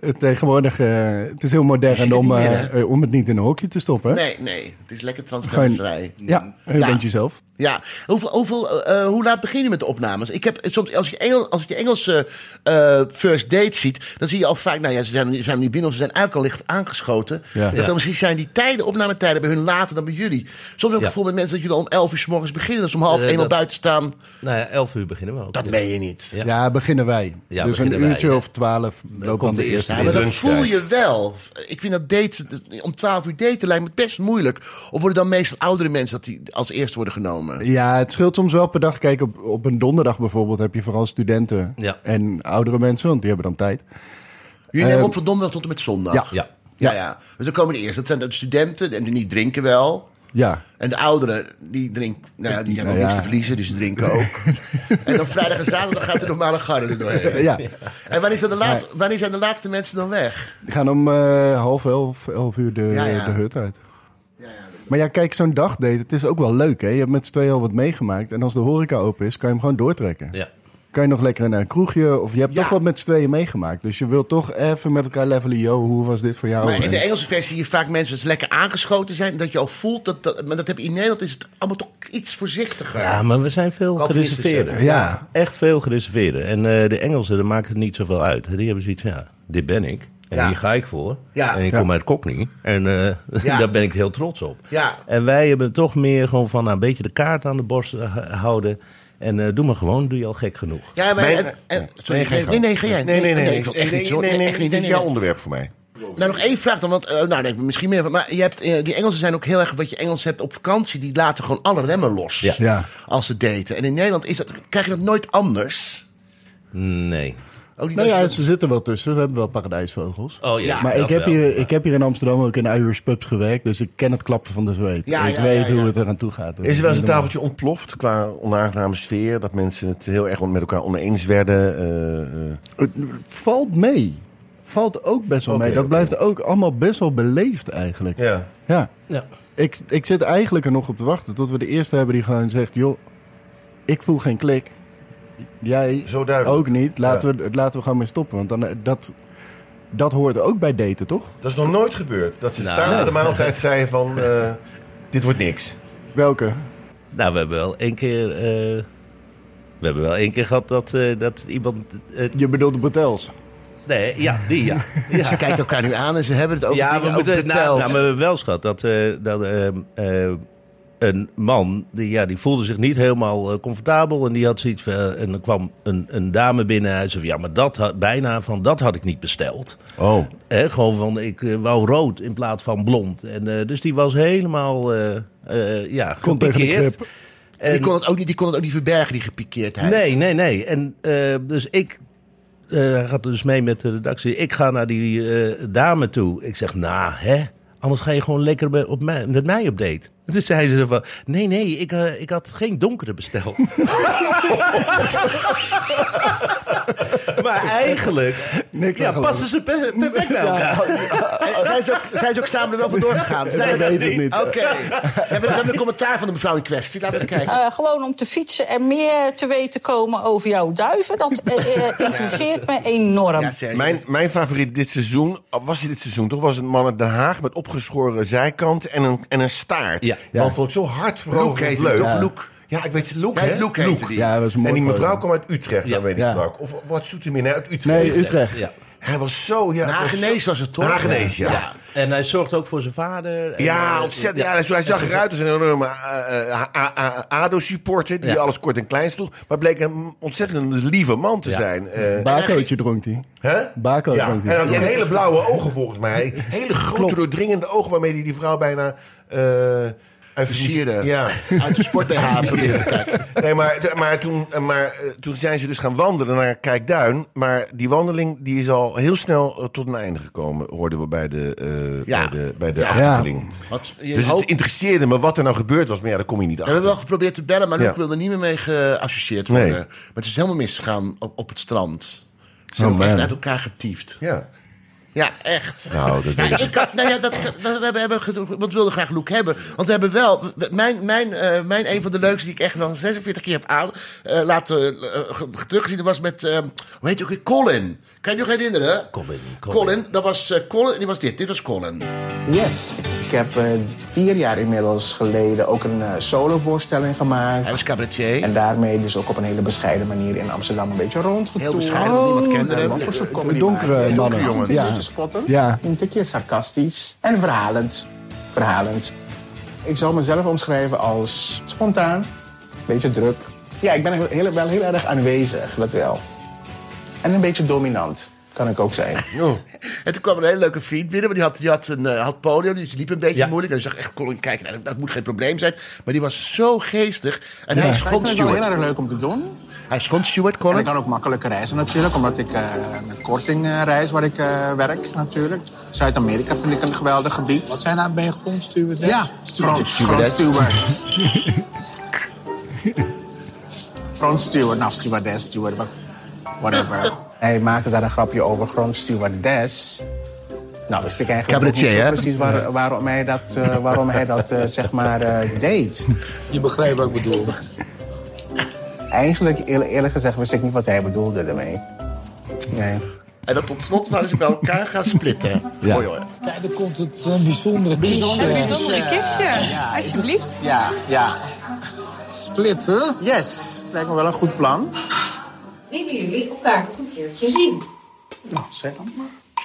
H: Eh, Tegenwoordig, eh, het is heel modern
A: er
H: om,
A: niet meer,
H: eh,
A: hè?
H: eh, om het niet in een hokje te stoppen. hè?
A: Nee, nee. Het is lekker
H: Gewoon,
A: transparantvrij.
H: ja, je
A: Ja.
H: bent jezelf.
A: Ja, hoeveel, hoeveel, eh, eh, hoe laat begin je met de opnames? Ik heb soms, als je, Engel, als je Engelse eh, first date ziet, dan zie je al vaak, nou ja, ze zijn, ze zijn niet binnen of ze zijn eigenlijk al licht aangeschoten.
H: Ja.
A: Dat
G: Ja.
A: dan misschien zijn die tijden, opnametijden bij hun later dan bij jullie. Soms heb ik het
G: Ja.
A: gevoel met mensen dat jullie al om elf uur s morgens beginnen, dat ze om half
G: Eh,
A: één al
G: dat-
A: buiten staan.
G: Nou ja, 11 uur beginnen we ook.
A: Dat meen je niet.
H: Ja,
G: Ja.
H: beginnen wij.
G: Ja,
H: dus
G: beginnen
H: een
G: wij,
H: uurtje
G: ja.
H: of twaalf loopt dan
G: komt de
H: de eerste.
G: eerste
A: Ja, maar dat
E: Lunchtijd.
A: voel je wel. Ik vind dat dates om 12 uur daten lijkt me best moeilijk. Of worden dan meestal oudere mensen dat die als eerst worden genomen?
H: Ja, het scheelt soms wel per dag. Kijk, op, op een donderdag bijvoorbeeld heb je vooral studenten
G: Ja.
H: en oudere mensen, want die hebben dan tijd.
A: Jullie nemen
H: Eh,
A: op van donderdag tot en met zondag.
H: ja.
G: Ja.
A: Ja, ja. Dus dan komen de eerste. Dat zijn de studenten en die drinken wel.
H: Ja,
A: En de ouderen, die drinken, nou ja, die hebben
H: Nou
A: ook niks
H: ja.
A: te verliezen, dus die drinken ook. en dan vrijdag en zaterdag gaat de normale garde er doorheen.
H: ja.
A: En wanneer, is dan de laatste, wanneer zijn de laatste mensen dan weg?
H: Die gaan om eh, half elf, elf uur de,
A: Ja, ja.
H: de hut uit. Maar ja, kijk, zo'n dagdate, het is ook wel leuk, hè? Je hebt met z'n tweeën al wat meegemaakt. En als de horeca open is, kan je hem gewoon doortrekken.
G: Ja.
H: Kan je nog lekker naar een kroegje, of je hebt
A: Ja.
H: toch wat met z'n tweeën meegemaakt. Dus je wilt toch even met elkaar levelen, yo, hoe was dit voor jou?
A: Maar in de
H: En-
A: Engelse versie zie je vaak mensen dat ze lekker aangeschoten zijn. Dat je al voelt, dat, dat, maar dat heb je in Nederland is het allemaal toch iets voorzichtiger.
G: Ja, maar we zijn veel
A: Calvinistische.
G: gereserveerder.
H: Ja.
G: Echt veel gereserveerder. En eh, de Engelsen, daar maakt het niet zoveel uit. Die hebben zoiets van, ja, dit ben ik. En
A: Ja.
G: hier ga ik voor.
A: Ja.
G: En ik
H: Ja.
G: kom uit Cockney. En eh,
A: Ja.
G: daar ben ik heel trots op.
A: Ja.
G: En wij hebben toch meer gewoon van, nou, een beetje de kaart aan de borst eh, houden. En eh, doe maar gewoon, doe je al gek genoeg.
A: Ja, maar...
E: Mijn-
A: en- en- sorry,
E: Nee,
A: nee,
E: geen
A: nee, nee, ga jij.
E: Nee, nee, nee. nee,
A: ik wil
E: nee,
A: echt
E: nee,
A: niet, hoor.
E: nee, nee,
A: Echt
E: nee, Dit is
A: nee,
E: jouw
A: nee.
E: onderwerp voor mij.
A: Nou, nog één vraag dan, want eh, nou, nee, misschien meer. Maar je hebt, eh, die Engelsen zijn ook heel erg wat je Engels hebt op vakantie. Die laten gewoon alle remmen los
G: Ja.
H: Ja.
A: als ze daten. En in Nederland is dat, krijg je dat nooit anders.
G: Nee.
A: Ook niet
H: Nou
A: als je
H: ja,
A: dat-
H: ze zitten wel tussen. We hebben wel paradijsvogels.
G: Oh ja,
H: maar
G: dat
H: ik heb,
G: wel.
H: hier, ik heb hier in Amsterdam ook in Irish pubs gewerkt, dus ik ken het klappen van de zweep.
A: Ja,
H: ik
A: ja,
H: weet
A: ja, ja.
H: hoe het eraan toe gaat.
E: Is er wel eens een tafeltje ontploft qua onaangename sfeer? Dat mensen het heel erg met elkaar oneens werden? eh, eh.
H: Het valt mee. Valt ook best wel
E: Oké,
H: mee. Dat
E: oké.
H: blijft ook allemaal best wel beleefd eigenlijk. Ja.
E: ja.
G: Ja.
H: Ik, ik zit eigenlijk er nog op te wachten tot we de eerste hebben die gewoon zegt... joh, ik voel geen klik. Jij
E: Zo duidelijk.
H: ook niet. Laten, we, laten we gewoon mee stoppen. Want dan, eh, dat, dat hoort ook bij daten, toch?
E: Dat is nog nooit gebeurd. Dat ze
G: Nou.
E: staan aan de maaltijd zeiden van... eh, dit wordt niks.
H: Welke?
G: Nou, we hebben wel één keer... eh, we hebben wel één keer gehad dat, eh, dat iemand... eh,
H: Je bedoelt de bretels.
G: nee, ja, die ja. ja.
A: Ze kijken elkaar nu aan en ze hebben het over
G: Ja, we
A: dingen,
G: moeten
A: over
G: het nou,
A: hotels.
G: nou, maar we hebben wel schat dat, eh, dat ehm, ehm, een man, die, ja, die voelde zich niet helemaal eh, comfortabel. En die had zoiets van, eh, en er kwam een, een dame binnen. Hij zei van, ja, maar dat had, bijna van, dat had ik niet besteld.
E: Oh.
G: Hè, gewoon van, ik eh, wou rood in plaats van blond. En, eh, dus die was helemaal, eh eh ja,
H: Kon tegen de
G: gepikeerd.
H: krip.
A: die,
G: En-
A: kon het ook niet, die kon het ook niet verbergen, die gepikeerdheid.
G: Nee, nee, nee. En eh, dus ik. eh, Hij gaat dus mee met de redactie. Ik ga naar die eh, dame toe. Ik zeg, nou, hè? Anders ga je gewoon lekker bij- op mij, met mij op date. En toen zei ze van, nee, nee, ik, eh, ik had geen donkere besteld. maar eigenlijk,
H: Niks
G: ja,
H: aan
G: passen ze per- perfect bij elkaar.
A: Eh, Zijn ze, ook, zijn ze ook samen er wel vandoor gegaan? Ze zeiden
H: weet
A: dat
H: ik niet.
A: Oké. Hebben we dan een commentaar van de mevrouw in kwestie? Laten we even
G: Ah.
A: kijken.
I: Eh, gewoon om te fietsen en meer te weten komen over jouw duiven. Dat eh, eh, intrigeert me enorm.
A: Ja, Sergio.
E: Mijn, mijn favoriet dit seizoen, al was hij dit seizoen toch, was een man uit Den Haag met opgeschoren zijkant en een, en een staart.
G: Ja.
E: Dat vond ik zo hard
A: Loek heet hij
E: veroverd leuk.
A: toch?
E: Ja.
A: Loek.
E: Ja, ik weet Loek,
A: Nee,
E: hè?
A: Loek heette die.
H: Ja, dat was een
E: En
H: mooi
E: die mevrouw
H: programma.
E: kwam uit Utrecht,
G: Ja.
E: dan weet ik
H: Ja.
E: het ook. Of wat zoet u meer uit Utrecht?
H: Nee, Utrecht.
G: Ja.
E: Hij was zo... Ja, het was
A: Hagenees
E: zo-
A: was het toch?
E: Hagenees, ja.
A: Ja.
G: En hij zorgt ook voor zijn vader. En,
E: Ja,
G: eh,
E: ontzettend. Ja, hij- hij zag eruit als een enorme eh, eh, A- A- ADO-supporter... die
G: Ja.
E: alles kort en klein sloeg. Maar bleek een ontzettend lieve man te zijn. eh,
H: Bakootje dronk hij.
E: Hè?
H: Bako
E: ja.
H: dronk
E: En
H: hij.
E: hij had hele blauwe ogen volgens mij. Hele grote, doordringende ogen waarmee hij die vrouw bijna... eh
A: Versierde.
E: Ja.
A: Uit de sport BH probeerde te kijken.
E: Nee, maar, maar, toen, maar eh, toen zijn ze dus gaan wandelen naar Kijkduin. Maar die wandeling die is al heel snel eh, tot een einde gekomen, hoorden we bij de, eh
A: Ja.
E: bij de, bij de
A: Ja.
E: aftiteling.
A: Wat, je
E: Dus
A: hoopt-
E: het interesseerde me wat er nou gebeurd was, maar ja, daar kom je niet
A: we hebben
E: achter.
A: wel geprobeerd te bellen, maar Noek
E: Ja.
A: wilde niet meer mee geassocieerd
E: Nee.
A: worden. Maar het is helemaal misgegaan op, op het strand. Ze zijn
H: Oh,
A: ook echt
H: man.
A: uit elkaar getiefd.
E: Ja.
A: Ja, echt.
E: Nou, dat
A: Ja,
E: weet ik.
A: ik had, nou ja, dat, dat, we hebben, gedro- want we wilden graag Loek hebben. Want we hebben wel... we- Mijn, mijn, eh, mijn een van de leukste die ik echt wel 46 keer heb aan, eh, laten eh, ge- teruggezien... was met, eh, hoe heet je ook weer? Colin. Kan je je nog herinneren?
G: Colin, Colin.
A: Colin. dat was eh, Colin. en Die was dit. Dit was Colin.
C: Yes, ik heb eh, vier jaar inmiddels geleden ook een eh solovoorstelling gemaakt.
A: Hij was cabaretier.
C: En daarmee dus ook op een hele bescheiden manier in Amsterdam een beetje rondgetoerd.
A: Heel bescheiden, want niemand kende hem.
C: Wat voor soort comedy
H: donkere
C: maak je?
H: mannen.
C: Donkere jongens.
H: Ja.
C: Een beetje spotten.
H: Ja.
C: Een tikje sarcastisch. En verhalend. Verhalend. Ik zou mezelf omschrijven als spontaan. Beetje druk. Ja, ik ben heel- heel- wel heel erg aanwezig, dat wel. En een beetje dominant, kan ik ook zijn.
A: En toen kwam een hele leuke vriend binnen, maar die had, die had, een, eh, had polio, dus die liep een beetje
G: Ja.
A: moeilijk. En hij zag echt, Colin, kijk, nou, dat, dat moet geen probleem zijn. Maar die was zo geestig. En hij
C: Ik
A: schond
C: vind het wel heel
A: Stuart.
C: erg leuk om te doen.
A: Hij schond Stuart,
C: En ik
A: Colin.
C: kan ook makkelijker reizen natuurlijk, omdat ik eh, met korting eh, reis waar ik eh, werk natuurlijk. Zuid-Amerika vind ik een geweldig gebied. Wat zijn daar bij een grondstewardess? Ja, grond- grondsteward. Grondsteward, nou stewardess, steward, wat- whatever. Hij maakte daar een grapje over grondstewardess. Nou, wist ik eigenlijk ook
A: Cabaretier,
C: niet zo
A: hè?
C: precies waar- waarom hij dat, eh, waarom hij dat eh, zeg maar eh, deed.
J: Je begrijpt wat ik bedoel.
C: Eigenlijk, eerlijk, eerlijk gezegd, wist ik niet wat hij bedoelde daarmee. Nee.
A: En dat tot slot waren ze bij elkaar gaan splitten.
H: Ja.
A: Mooi hoor.
J: Verder komt het een bijzondere
K: Een
J: kistje.
K: bijzondere kistje, alsjeblieft.
C: Ja, ja. Splitten? Yes. Lijkt me wel een goed plan.
L: Willen jullie elkaar nog een keertje zien?
C: Nou, zeg dan maar.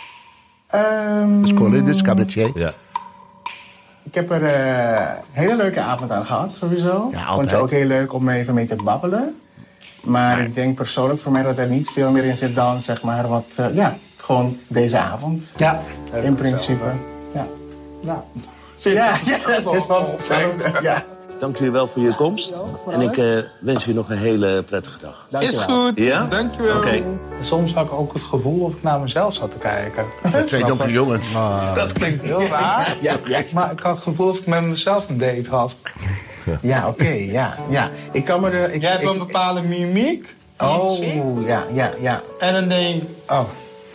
A: Dus Colin, dus cabaretier.
G: Ja.
C: ik heb er eh, een hele leuke avond aan gehad, sowieso.
A: Ja,
C: Vond
A: altijd.
C: het ook heel leuk om even mee te babbelen. Maar ik denk persoonlijk voor mij dat er niet veel meer in zit dan, zeg maar, wat... eh, ja, gewoon deze avond. Ja. In principe. Ja. Ja. Ja, ja, dat is wel volgens Ja.
M: Dank jullie wel voor je komst. En ik eh, wens jullie nog een hele prettige dag.
C: Is goed.
M: Ja? Dankjewel. Oké.
C: Soms had ik ook het gevoel of ik naar mezelf zat te kijken.
A: Twee donkere jongens.
M: Dat klinkt heel raar.
A: Ja, juist.
M: Maar ik had het gevoel dat ik met mezelf een date had.
C: Ja, oké, ja, Ah, ja. Ik kan me er... Ik,
M: Jij hebt
C: ik-
M: een bepaalde mimiek.
C: Oh, ja, ja, ja.
M: En dan denk ik, oh,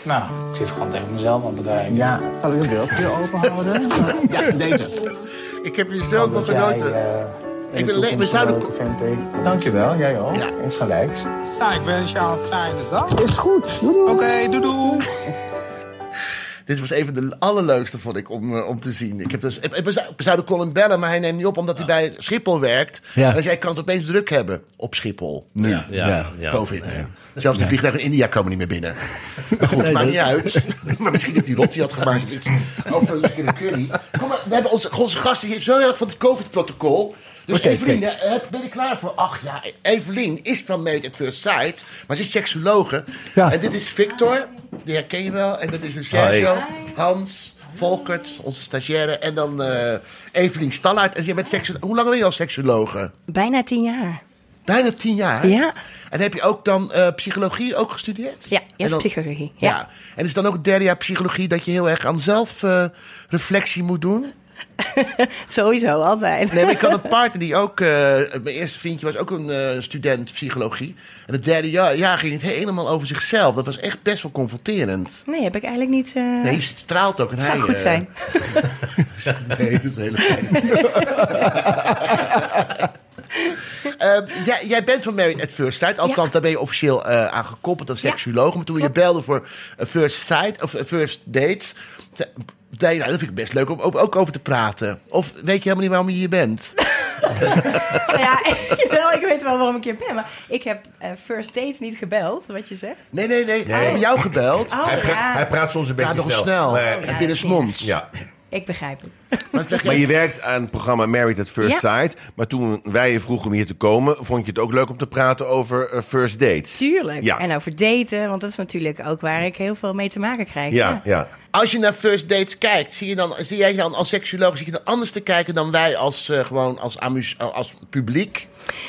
M: nou, ik zit gewoon tegen mezelf aan te kijken.
C: Ja. Zal ik het deeltje openhouden? ja, deze.
A: Ik heb hier zoveel
C: Jij,
A: genoten.
C: eh, in
A: Ik
C: de
A: ben le- we
C: toekomst
A: zouden-
C: een leuke vent tegenkomt. Dankjewel, jij ook.
A: Ja.
C: Insgelijks.
M: Nou, ik wens jou een fijne dag.
C: Is goed. Doei, doei.
M: Oké, doe doe.
A: Dit was een van de allerleukste, vond ik, om, eh, om te zien. Ik heb dus, ik- ik- we zou- we zouden Colin bellen, maar hij neemt niet op omdat hij bij Schiphol werkt.
H: Ja.
A: Dus hij kan het opeens druk hebben op Schiphol. Nu.
G: Ja, ja, ja.
A: COVID. Zelfs de vliegtuigen in India komen niet meer binnen. Maar goed, maakt niet uit. Maar misschien dat die Rotti had gemaakt of iets. Of een lekkere curry. Kom maar, we hebben onze, onze gasten hier zo heel erg van het COVID-protocol. Dus
H: Oké,
A: Evelien, eh, ben je er klaar voor? Ach ja, Evelien is van Made at First Sight. Maar ze is seksologe.
H: Ja.
A: En dit is Victor. Die herken je wel. En dat is een Sergio. Hans. Volkert, onze stagiaire. En dan eh, Evelien Stallaert. En je bent seksu- Hoe lang ben je al seksologe?
N: Bijna tien jaar.
A: Bijna tien jaar?
N: Ja.
A: En heb je ook dan eh, psychologie ook gestudeerd?
N: Ja, eerst
A: En dan-
N: psychologie,
A: Ja.
N: ja.
A: En is dan ook het derde jaar psychologie dat je heel erg aan zelfreflectie moet doen?
N: Sowieso, altijd.
A: Nee, maar ik had een partner die ook... eh, mijn eerste vriendje was ook een eh, student psychologie. En het derde jaar, jaar ging het helemaal over zichzelf. Dat was echt best wel confronterend.
N: Nee, heb ik eigenlijk niet... eh,
A: Nee, het straalt ook. En
N: zou
A: hij,
N: goed
A: eh,
N: zijn.
A: Nee, dat is heel Eh jij, jij bent van Married at First Sight. Althans,
N: Ja.
A: daar ben je officieel eh, aan gekoppeld als
N: Ja,
A: seksuoloog. Maar toen je
N: klopt.
A: belde voor eh, First Sight of eh, First Dates... te- zei je, nou, dat vind ik best leuk om ook, ook over te praten. Of weet je helemaal niet waarom je hier bent?
K: Nou ja, wel, ik weet wel waarom ik hier ben. Maar ik heb eh, first dates niet gebeld, wat je zegt.
A: Nee, nee, nee.
K: Oh.
A: Hij heeft jou gebeld.
K: Oh, Hij praat- ja. hij
E: praat soms een
A: beetje
E: beetje
A: snel.
E: snel,
A: snel.
E: maar-
A: En binnensmonds.
E: Ja.
K: Ik begrijp het.
E: Maar je werkt aan het programma Married at First
K: Ja.
E: Sight. Maar toen wij je vroegen om hier te komen, vond je het ook leuk om te praten over eh, first dates.
K: Tuurlijk.
E: Ja.
K: En over daten, want dat is natuurlijk ook waar ik heel veel mee te maken krijg.
E: Ja, ja.
A: Als je naar first dates kijkt, zie, je dan, zie jij dan als seksuoloog zie je dan anders te kijken dan wij als, eh, gewoon als, amus, eh, als publiek?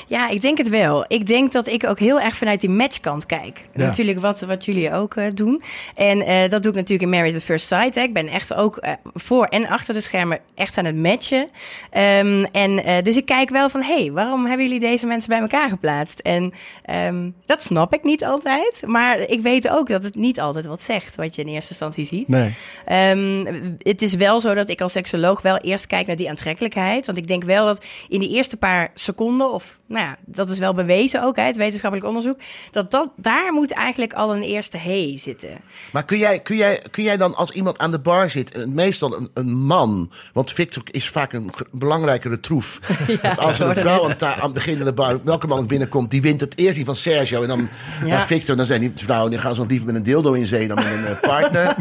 K: Ja, ik denk het wel. Ik denk dat ik ook heel erg vanuit die matchkant kijk.
A: Ja.
K: Natuurlijk wat, wat jullie ook eh, doen. En eh, dat doe ik natuurlijk in Married at First Sight. Hè. Ik ben echt ook eh, voor en achter de schermen echt aan het matchen. Ehm, en, eh, dus ik kijk wel van... hé, hey, waarom hebben jullie deze mensen bij elkaar geplaatst? En ehm, dat snap ik niet altijd. Maar ik weet ook dat het niet altijd wat zegt... wat je in eerste instantie ziet.
H: Nee.
K: Ehm, het is wel zo dat ik als seksoloog wel eerst kijk naar die aantrekkelijkheid. Want ik denk wel dat in die eerste paar seconden, of nou ja, dat is wel bewezen ook uit wetenschappelijk onderzoek, dat, dat daar moet eigenlijk al een eerste hey zitten.
A: Maar kun jij, kun, jij, kun jij dan als iemand aan de bar zit, eh, meestal een, een man, want Victor is vaak een ge- belangrijkere troef. want als er een
B: hoorde
A: vrouw
B: het.
A: aan, ta- aan het begin van de bar, welke man ook binnenkomt, die wint het eerst die van Sergio en dan
B: Ja.
A: naar Victor. Dan zijn die vrouwen, die gaan zo liever met een dildo in zee dan met een eh, partner.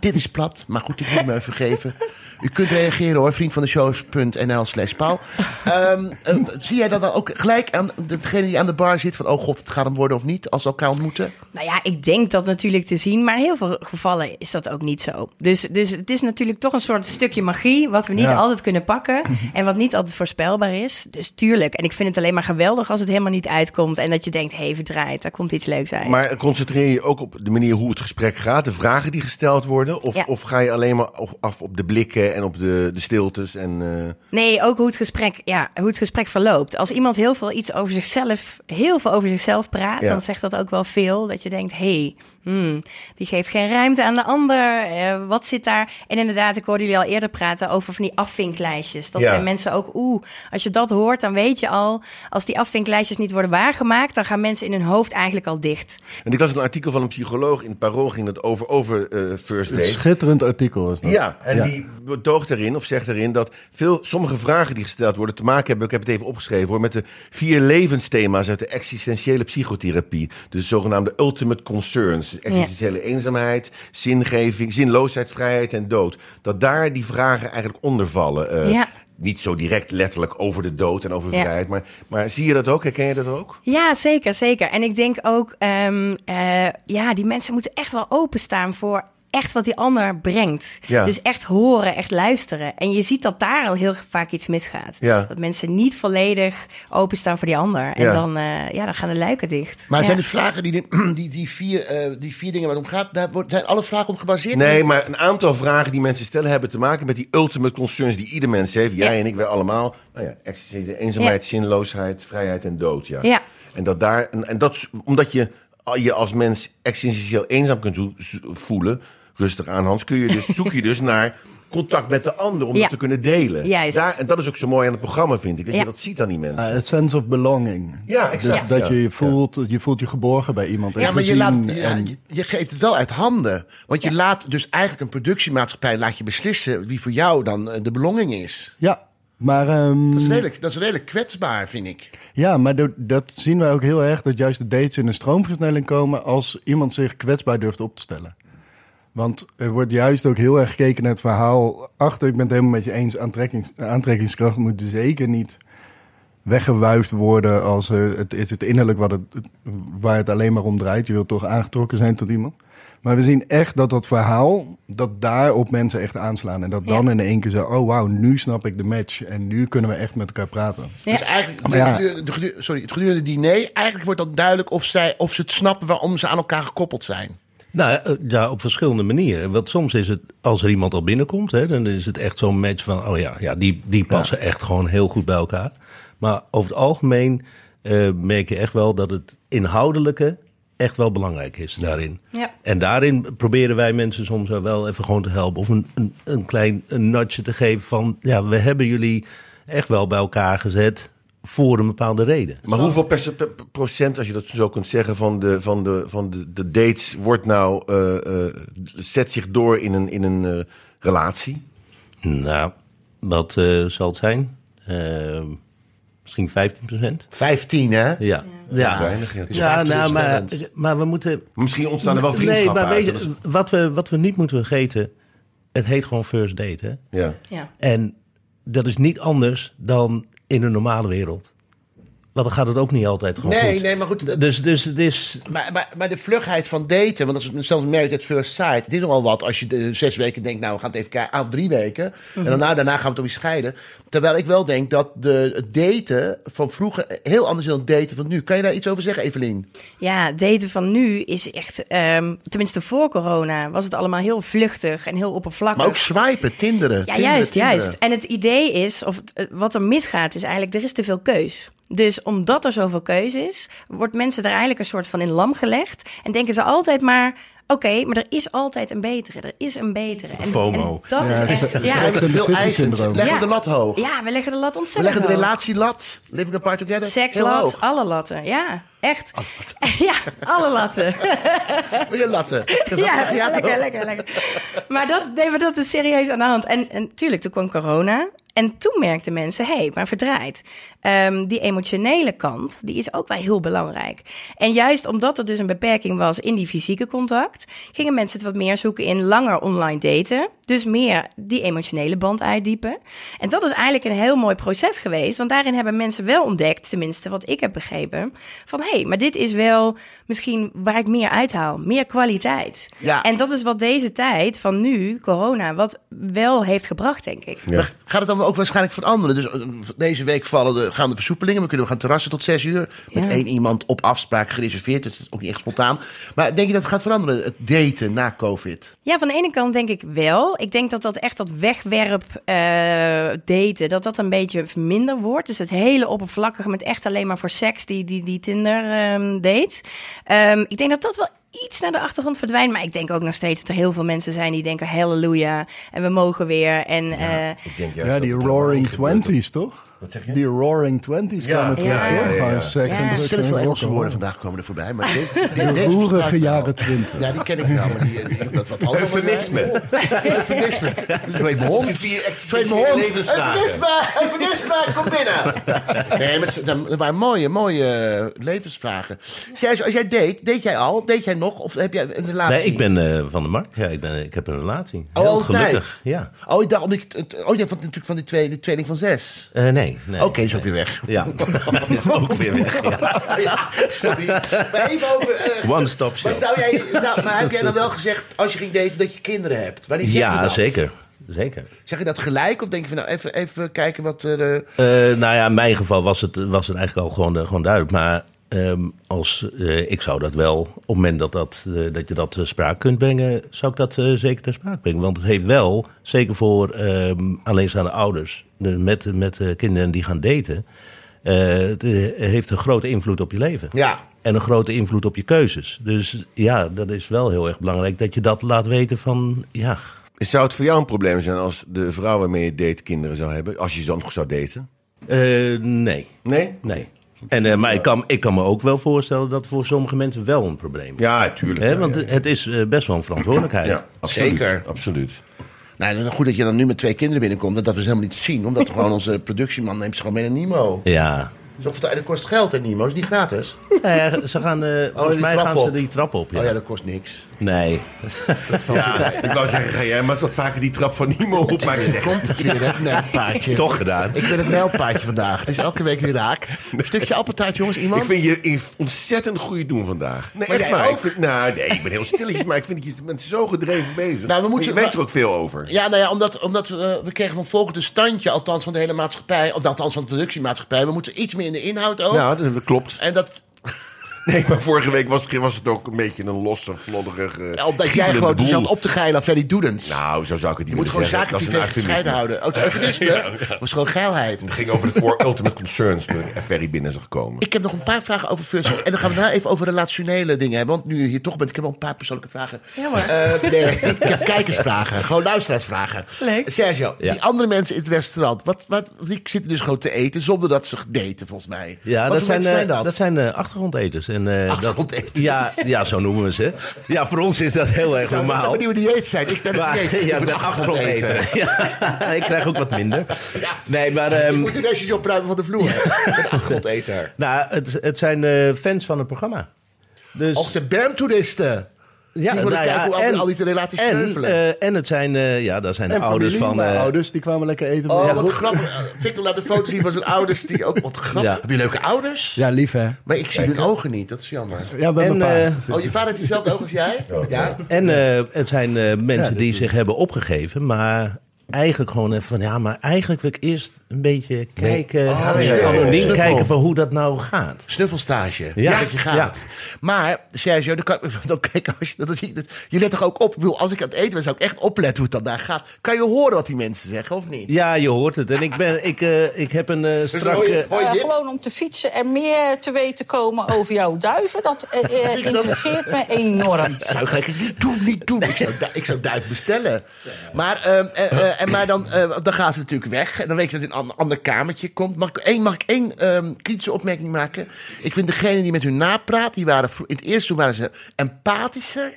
A: Dit is plat, maar goed, ik moet me vergeven. U kunt reageren hoor, vriendvandeshow.nl slash paal. Ehm, eh, zie jij dat dan ook gelijk aan degene die aan de bar zit van, oh god, het gaat hem worden of niet, als ze elkaar ontmoeten?
K: Nou ja, ik denk dat natuurlijk te zien, maar in heel veel gevallen is dat ook niet zo. Dus, dus het is natuurlijk toch een soort stukje magie, wat we niet
O: Ja.
K: altijd kunnen pakken
C: Mhm.
K: en wat niet altijd voorspelbaar is. Dus tuurlijk, en ik vind het alleen maar geweldig als het helemaal niet uitkomt en dat je denkt, hé, hey, verdraaid, daar komt iets leuks uit.
E: Maar concentreer je ook op de manier hoe het gesprek gaat, de vragen die gesteld worden? Of,
K: Ja.
E: of ga je alleen maar af- af op de blikken en op de, de stiltes? En, eh,
K: Nee, ook hoe het, gesprek, ja, hoe het gesprek verloopt. Als iemand heel veel iets over zichzelf, heel veel over zichzelf praat,
E: Ja.
K: dan zegt dat ook wel veel. Dat je denkt, hé, hey, hmm, die geeft geen ruimte aan de ander. Eh, wat zit daar? En inderdaad, ik hoorde jullie al eerder praten over van die afvinklijstjes. Dat
O: Ja.
K: zijn mensen ook, oeh, als je dat hoort, dan weet je al, als die afvinklijstjes niet worden waargemaakt, dan gaan mensen in hun hoofd eigenlijk al dicht.
E: en ik las een artikel van een psycholoog in het Parool, ging dat over, over eh, first
H: Een
E: dates.
H: schitterend artikel is dat.
E: Ja, en die betoogt erin of zegt erin dat veel, sommige vragen die gesteld worden te maken hebben, ik heb het even opgeschreven hoor, met de vier levensthema's uit de existentiële psychotherapie. Dus de zogenaamde ultimate concerns. dus Existentiële eenzaamheid, zingeving, zinloosheid, vrijheid en dood. Dat daar die vragen eigenlijk onder vallen. Eh,
K: Ja.
E: Niet zo direct letterlijk over de dood en over
K: Ja.
E: vrijheid, maar, maar zie je dat ook? Herken je dat ook?
K: Ja, zeker, zeker. En ik denk ook, ehm, eh, ja, die mensen moeten echt wel openstaan voor echt wat die ander brengt.
E: Ja.
K: Dus echt horen, echt luisteren. En je ziet dat daar al heel vaak iets misgaat.
A: Ja.
K: Dat mensen niet volledig openstaan voor die ander. En
A: Ja.
K: dan, eh, ja, dan gaan de luiken dicht.
A: Maar
K: ja.
A: zijn de vragen die, die, die, vier, eh, die vier dingen waar het om gaat, daar wordt- zijn alle vragen op gebaseerd?
E: Nee, maar een aantal vragen die mensen stellen hebben te maken met die ultimate concerns die ieder mens heeft. Jij
A: Ja.
E: en ik, wij allemaal. Nou ja, existentie, eenzaamheid,
A: Ja.
E: zinloosheid, vrijheid en dood. Ja.
A: Ja.
E: En dat daar, en, en dat, is- omdat je je als mens existentieel eenzaam kunt doen- voelen, rustig aan Hans, kun je dus, zoek je dus naar contact met de ander om
K: Ja.
E: dat te kunnen delen.
K: Juist.
E: Daar, en dat is ook zo mooi aan het programma, vind ik. Dat
K: Ja.
E: je dat ziet aan die mensen.
H: Ah, het sense of belonging.
E: Ja, exact.
H: Dus dat
E: Ja.
H: je je voelt, je voelt je geborgen bij iemand. en
A: Ja, maar je,
H: gezien
A: laat, je,
H: en-
A: je geeft het wel uit handen. Want je laat dus eigenlijk een productiemaatschappij laat je beslissen wie voor jou dan eh, de belonging is.
H: Ja, maar... ehm,
A: Dat is, redelijk, dat is redelijk kwetsbaar, vind ik.
H: Ja, maar do- dat zien wij ook heel erg. Dat juist de dates in een stroomversnelling komen als iemand zich kwetsbaar durft op te stellen. Want er wordt juist ook heel erg gekeken naar het verhaal achter. Ik ben het helemaal met je eens. Aantrekkings, aantrekkingskracht moet zeker niet weggewuifd worden als eh, het is het innerlijk wat het, waar het alleen maar om draait. Je wilt toch aangetrokken zijn tot iemand. Maar we zien echt dat dat verhaal, dat daar op mensen echt aanslaan. En dat dan in één keer zo, oh wauw, nu snap ik de match. En nu kunnen we echt met elkaar praten.
A: Dus eigenlijk,
H: Maar ja.
A: gedurende- de gedu- sorry, het gedurende diner, eigenlijk wordt dan duidelijk of, zij, of ze het snappen waarom ze aan elkaar gekoppeld zijn.
G: Nou eh, ja, op verschillende manieren. Want soms is het, als er iemand al binnenkomt, hè, dan is het echt zo'n match van, oh ja, ja die, die passen echt gewoon heel goed bij elkaar. Maar over het algemeen eh, merk je echt wel dat het inhoudelijke echt wel belangrijk is daarin.
K: Ja.
G: En daarin proberen wij mensen soms wel even gewoon te helpen. Of een, een, een klein een nudge te geven van, ja, we hebben jullie echt wel bij elkaar gezet voor een bepaalde reden.
E: Maar hoeveel perce- per- per- procent, als je dat zo kunt zeggen, van de, van de, van de, de dates wordt nou, eh, eh, zet zich door in een, in een eh, relatie?
G: Nou, wat eh, zal het zijn? Eh, misschien 15 procent.
A: 15, hè?
G: Ja. Ja,
E: Weinig, ja. Het is
G: ja
E: vaak
G: nou, maar,
E: teleurstellend.
G: maar we moeten...
E: Misschien ontstaan er wel
G: Nee,
E: vriendschappen
G: maar weet
E: uit.
G: je, wat we, wat we niet moeten vergeten... Het heet gewoon first date, hè?
E: Ja.
K: Ja.
G: En dat is niet anders dan in de normale wereld. Want dan gaat het ook niet altijd gewoon
A: Nee,
G: goed.
A: nee, maar goed.
G: Dus, dus het is...
A: Maar, maar, maar de vlugheid van daten, want dat is zelfs merk het first sight. Het is nogal wat als je de zes weken denkt, nou we gaan het even kijken, ah, of drie weken.
B: Mhm.
A: En daarna, daarna gaan we het om je scheiden. Terwijl ik wel denk dat de, het daten van vroeger heel anders is dan het daten van nu. Kan je daar iets over zeggen, Evelien?
K: Ja, daten van nu is echt, ehm, tenminste voor corona, was het allemaal heel vluchtig en heel oppervlakkig.
A: Maar ook swipen, tinderen.
K: Ja,
A: tinderen,
K: juist,
A: tinderen.
K: juist. En het idee is, of het- eh, wat er misgaat, is eigenlijk er is te veel keus. Dus omdat er zoveel keus is, wordt mensen daar eigenlijk een soort van in lam gelegd. En denken ze altijd maar, oké, maar er is altijd een betere. Er is een betere. En,
G: FOMO.
K: en dat
G: Ja,
K: is
G: dat
K: echt,
G: is-
K: ja.
G: dat is ook
A: Veel
G: City
A: eisen,
G: syndroom.
A: leggen
K: Ja.
A: de lat hoog.
K: ja, we leggen de lat
A: We
K: ontzettend
A: leggen de
K: hoog.
A: relatielat, living apart together, heel
K: Sekslat,
A: hoog.
K: alle latten. Ja, echt. Ja, alle latten.
A: Wil je latten?
K: Ja,
A: toch?
K: lekker, lekker, lekker. Maar dat, nee, maar dat is serieus aan de hand. En, en tuurlijk, toen kwam corona. En toen merkten mensen, hé, hey, maar verdraaid. Ehm, die emotionele kant, die is ook wel heel belangrijk. En juist omdat er dus een beperking was in die fysieke contact... gingen mensen het wat meer zoeken in langer online daten. Dus meer die emotionele band uitdiepen. En dat is eigenlijk een heel mooi proces geweest. Want daarin hebben mensen wel ontdekt, tenminste wat ik heb begrepen... van hé, hey, maar dit is wel misschien waar ik meer uithaal. Meer kwaliteit.
A: Ja.
K: En dat is wat deze tijd van nu, corona, wat wel heeft gebracht, denk ik.
A: Maar gaat het dan ook waarschijnlijk veranderen? Dus eh, deze week vallen de, gaan de versoepelingen. We kunnen gaan terrassen tot zes uur. Met
K: Ja.
A: één iemand op afspraak gereserveerd. Dus het is ook niet echt spontaan. Maar denk je dat het gaat veranderen? Het daten na COVID.
K: Ja, van de ene kant denk ik wel. Ik denk dat dat echt dat wegwerp eh, daten, dat dat een beetje minder wordt. Dus het hele oppervlakkige met echt alleen maar voor seks, die, die, die Tinder ehm dates. Ehm, ik denk dat dat wel iets naar de achtergrond verdwijnt. Maar ik denk ook nog steeds dat er heel veel mensen zijn die denken, halleluja, en we mogen weer. En, eh,
H: Ja, die Roaring Twenties, toch? Wat zeg je? Die Roaring Twenties kwamen terug,
A: ja, ja,
H: toch?
A: ja.
H: Gewoon seks en
A: Er
H: drugs
A: zullen
H: en
A: veel Engelse
H: rock'n'roll.
A: woorden vandaag komen er voorbij. Maar deze,
H: De
A: deze- deze verstaat
H: roerige
A: ik wel.
H: jaren twintig.
A: Ja, die ken ik wel. Maar die, die, dat wat andere
E: Eufemisme.
A: woorden. Eufemisme. Ik weet mijn hond.
E: Die vier
A: Ik weet mijn hond.
E: levensvragen.
A: Eufemisme. Eufemisme. Kom binnen. Nee, maar het- dat waren mooie, mooie levensvragen. Serge, als jij date, deed jij al? Deed jij nog? Of heb jij een relatie?
G: Nee, ik ben eh, van de markt. Ja, ik, ben, ik heb een relatie.
A: Oh,
G: Heel
A: altijd?
G: gelukkig. Ja.
A: Oh, ik dacht, omdat ik, het- oh, jij vond natuurlijk van die twee, de tweeling van zes.
G: Eh, nee. nee
A: Oké, is ook weer weg.
G: Ja, is ook weer weg. ja.
A: ja, sorry. Maar even over... eh,
G: One stop
A: maar,
G: shop.
A: zou jij, zou- maar heb jij dan wel gezegd, als je ging daten, dat je kinderen hebt? Wanneer zeg je
G: Ja,
A: dat?
G: zeker. Zeker.
A: Zeg je dat gelijk? Of denk je van, nou, even, even kijken wat er... eh,
G: Eh, nou ja, in mijn geval was het, was het eigenlijk al gewoon, eh, gewoon duidelijk. Maar ehm, als, eh, ik zou dat wel, op het moment dat, dat, eh, dat je dat ter sprake kunt brengen, zou ik dat eh, zeker ter sprake brengen. Want het heeft wel, zeker voor ehm alleenstaande ouders de- met, met eh, kinderen die gaan daten, eh, het eh, heeft een grote invloed op je leven.
A: Ja.
G: En een grote invloed op je keuzes. Dus ja, dat is wel heel erg belangrijk dat je dat laat weten van, ja,
E: Zou het voor jou een probleem zijn als de vrouw waarmee je date kinderen zou hebben? Als je ze dan nog zou daten?
G: Eh, nee.
E: Nee?
G: Nee. En, eh, maar ik kan, ik kan me ook wel voorstellen dat voor sommige mensen wel een probleem is.
E: Ja, tuurlijk.
G: Hè, want het is eh, best wel een verantwoordelijkheid.
E: Ja, absoluut.
A: Zeker.
E: Absoluut.
A: Nou, dat is goed dat je dan nu met twee kinderen binnenkomt. Dat, dat we ze helemaal niet zien. Omdat gewoon onze productieman neemt ze gewoon mee naar Nimo.
G: Ja.
A: Zo, Dat kost geld, hè, Nimo? Is niet gratis?
G: Eh, ze gaan, eh, volgens
A: Oh, die
G: mij
A: trap
G: gaan ze
A: op.
G: die trap op. Ja.
A: Oh ja, dat kost niks.
G: Nee.
E: Ja, ik wou zeggen, ga jij maar eens wat vaker die trap van Nemo op. Maar ik zeg,
A: Komt het weer, hè? Nee, paardje.
G: Toch gedaan.
A: Ik ben het mijlpaardje vandaag. Het is elke week weer raak. Een stukje appeltaart, jongens. Iemand?
E: ik vind je een ontzettend goede doen vandaag.
A: Maar
E: Nee, echt
A: jij
E: waar.
A: ook?
E: Ik vind, nou, nee, ik ben heel stilletjes, maar ik vind dat je bent zo gedreven bezig.
A: Nou, we
E: Maar
A: moeten-
E: je weet er ook veel over.
A: Ja, nou ja, omdat, omdat we, eh, we kregen van volgend een standje, althans van de hele maatschappij, of althans van de productiemaatschappij. We moeten iets meer in de inhoud ook.
E: Nou, dat- dat klopt.
A: En dat,
E: Nee, maar vorige week was, was het ook een beetje een losse, vlodderige.
A: ja, eh, omdat jij
E: giebelende
A: gewoon
E: boel.
A: zat op te geilen aan Freddy Doedens.
E: Nou, zo zou ik het niet
A: je moet gewoon
E: willen zeggen.
A: zaken
E: Dat is een
A: privé
E: eufemisme.
A: gescheiden houden. Oh, het eufemisme was gewoon geilheid.
E: Het ging over de voor Ultimate Concerns toen ik Ferry binnen zag komen.
A: Ik heb nog een paar vragen over first date. En dan gaan we daarna even over relationele dingen hebben. Want nu je hier toch bent, ik heb wel een paar persoonlijke vragen.
K: Ja hoor.
A: Eh, nee, ik heb kijkersvragen. Gewoon luisteraarsvragen.
K: Leuk.
A: Sergio,
G: Ja.
A: die andere mensen in het restaurant. Wat, wat, die zitten dus gewoon te eten zonder dat ze daten, volgens mij.
G: Ja,
A: wat
G: dat
A: voor
G: zijn,
A: mensen
G: eh, dat zijn eh, achtergrondeters. En, eh, dat, ja, ja, zo noemen we ze. Ja, voor ons is dat heel erg
A: Zou dat
G: normaal.
A: een nieuwe dieet zijn? Ik ben
G: Maar-
A: een dieet.
G: Ja,
A: ik
G: ik ben
A: afgevallen.
G: afgrondeten. Ja, ik krijg ook wat minder. Nee, maar...
A: Je
G: ehm,
A: moet de nestjes opruimen van de vloer.
G: Godetaar. Nou, het, het zijn eh, fans van het programma. Dus...
A: Ook de bermtoeristen.
G: Ja,
A: die willen
G: nou ja,
A: kijken hoe
G: en-
A: al, al die relaties
G: en,
A: sneuvelen.
G: eh, en het zijn, eh, ja, daar zijn de ouders
H: familie,
G: van.
H: mijn
G: eh,
H: ouders, die kwamen lekker eten.
A: Oh,
H: Ja,
A: wat
H: goed.
A: grappig. Victor laat een foto zien van zijn ouders. Die ook, wat grappig.
G: Ja.
A: Heb je leuke ouders?
H: Ja, lief hè.
A: Maar ik zie
H: Kijk,
A: hun ogen niet, dat is jammer.
H: Ja, bij
G: En,
H: mijn
G: eh,
H: pa.
A: Oh, je vader heeft diezelfde ogen als jij? Ja. dus-
G: En eh, het zijn eh,
H: Ja,
G: mensen
H: dat
G: die zich hebben opgegeven, maar eigenlijk gewoon even van ja, maar eigenlijk wil ik eerst een beetje kijken,
A: Oh, ja.
G: anoniem
A: Snuffel.
G: kijken van hoe dat nou gaat.
A: Snuffelstage.
G: Ja.
A: dat je gaat. Maar, Sergio, dan kan ik dan kijk, als je, dat zie ik, dat- je let toch ook op? Ik bedoel, als ik aan het eten ben, zou ik echt opletten hoe het dan daar gaat. Kan je horen wat die mensen zeggen, of niet?
G: Ja, je hoort het. En ik, ben, ik, eh, ik heb een eh,
A: Dus
G: strak... eh,
I: Eh, gewoon om te fietsen en meer te weten komen over jouw duiven. Dat eh, eh,
A: Zie je dat?
I: intrigeert me enorm.
A: Zou ik eigenlijk niet doen, niet doen. Ik zou, du- ik zou duif bestellen. Maar, ehm, eh, eh, en maar dan, eh, dan gaan ze natuurlijk weg. En dan weet je dat het in een an- ander kamertje komt. Mag ik één, mag ik één ehm, kritische opmerking maken? Ik vind degene die met hun napraat, die waren vro- in het eerste toen waren ze empathischer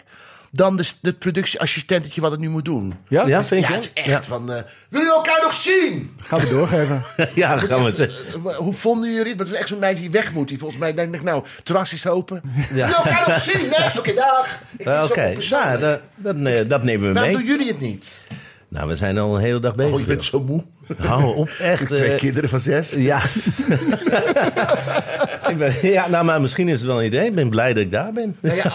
A: dan de, s- de productieassistentetje wat het nu moet doen.
H: Ja? Ja, vind
A: ja,
H: je?
A: het is echt van... eh Willen jullie elkaar nog zien?
H: Gaan we doorgeven.
G: ja, gaan we het...
A: Eh, Hoe vonden jullie het? Want het is echt zo'n meisje die weg moet. Die volgens mij denkt, nou, terras is open.
G: Ja.
A: Willen jullie elkaar nog zien? Nee, oké, dag. Het is
G: Eh,
A: zo
G: Oké,
A: onpersoonlijk.
G: nou, dat, dat, eh, dat nemen we
A: Waarom
G: mee.
A: doen jullie het niet?
G: Nou, we zijn al een hele dag bezig.
A: Oh, je bent zo moe.
G: joh. Hou op, echt.
A: Twee
G: eh,
A: kinderen van zes.
G: Ja. Ik ben- ja, nou, maar misschien is het wel een idee. Ik ben blij dat ik daar ben.
A: Nou ja,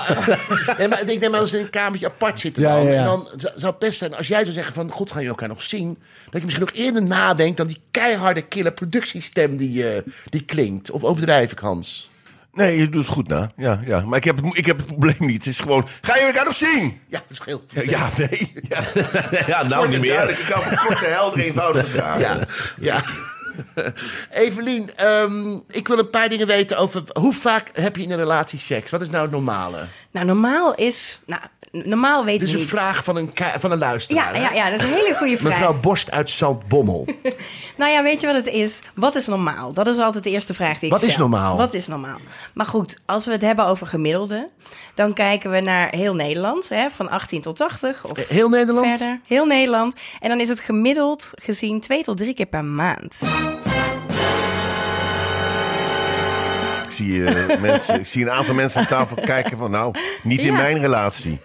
A: nee, maar ik denk, nee, maar als ze in een kamertje apart zitten,
H: Ja,
A: dan,
H: ja, ja.
A: en dan z- zou het best zijn als jij zou zeggen: van God, gaan jullie elkaar nog zien? Dat je misschien ook eerder nadenkt dan die keiharde, kille productiestem die, eh, die klinkt. Of overdrijf ik, Hans?
E: Nee, je doet het goed na. Ja, ja. Maar ik heb, het, mo- ik heb het probleem niet. Het is gewoon, ga je elkaar nog zien?
A: Ja, dat is heel.
E: Ja, ja, nee. Ja.
G: ja, nou
E: Kort
G: niet
E: en duidelijk.
G: meer.
E: Ik hou van korte, heldere, eenvoudige vragen.
A: Ja, ja. Evelien, ehm, ik wil een paar dingen weten over hoe vaak heb je in een relatie seks? Wat is nou het normale?
K: Nou, normaal is... Nou, n- normaal weet
A: Dit is
K: ik
A: een
K: niet.
A: vraag van een, ka- van een luisteraar.
K: Ja,
A: hè?
K: ja, ja, dat is een hele goede vraag.
A: Mevrouw Borst uit Zandbommel.
K: Nou ja, weet je wat het is? Wat is normaal? Dat is altijd de eerste vraag die ik
A: Wat is
K: stel.
A: normaal?
K: Wat is normaal? Maar goed, als we het hebben over gemiddelde, dan kijken we naar heel Nederland, hè, van 18 tot 80 of
A: Heel Nederland?
K: verder. Heel Nederland. En dan is het gemiddeld gezien twee tot drie keer per maand.
E: Ik zie, eh, mensen, ik zie een aantal mensen aan tafel kijken van, nou, niet in
K: Ja.
E: mijn relatie.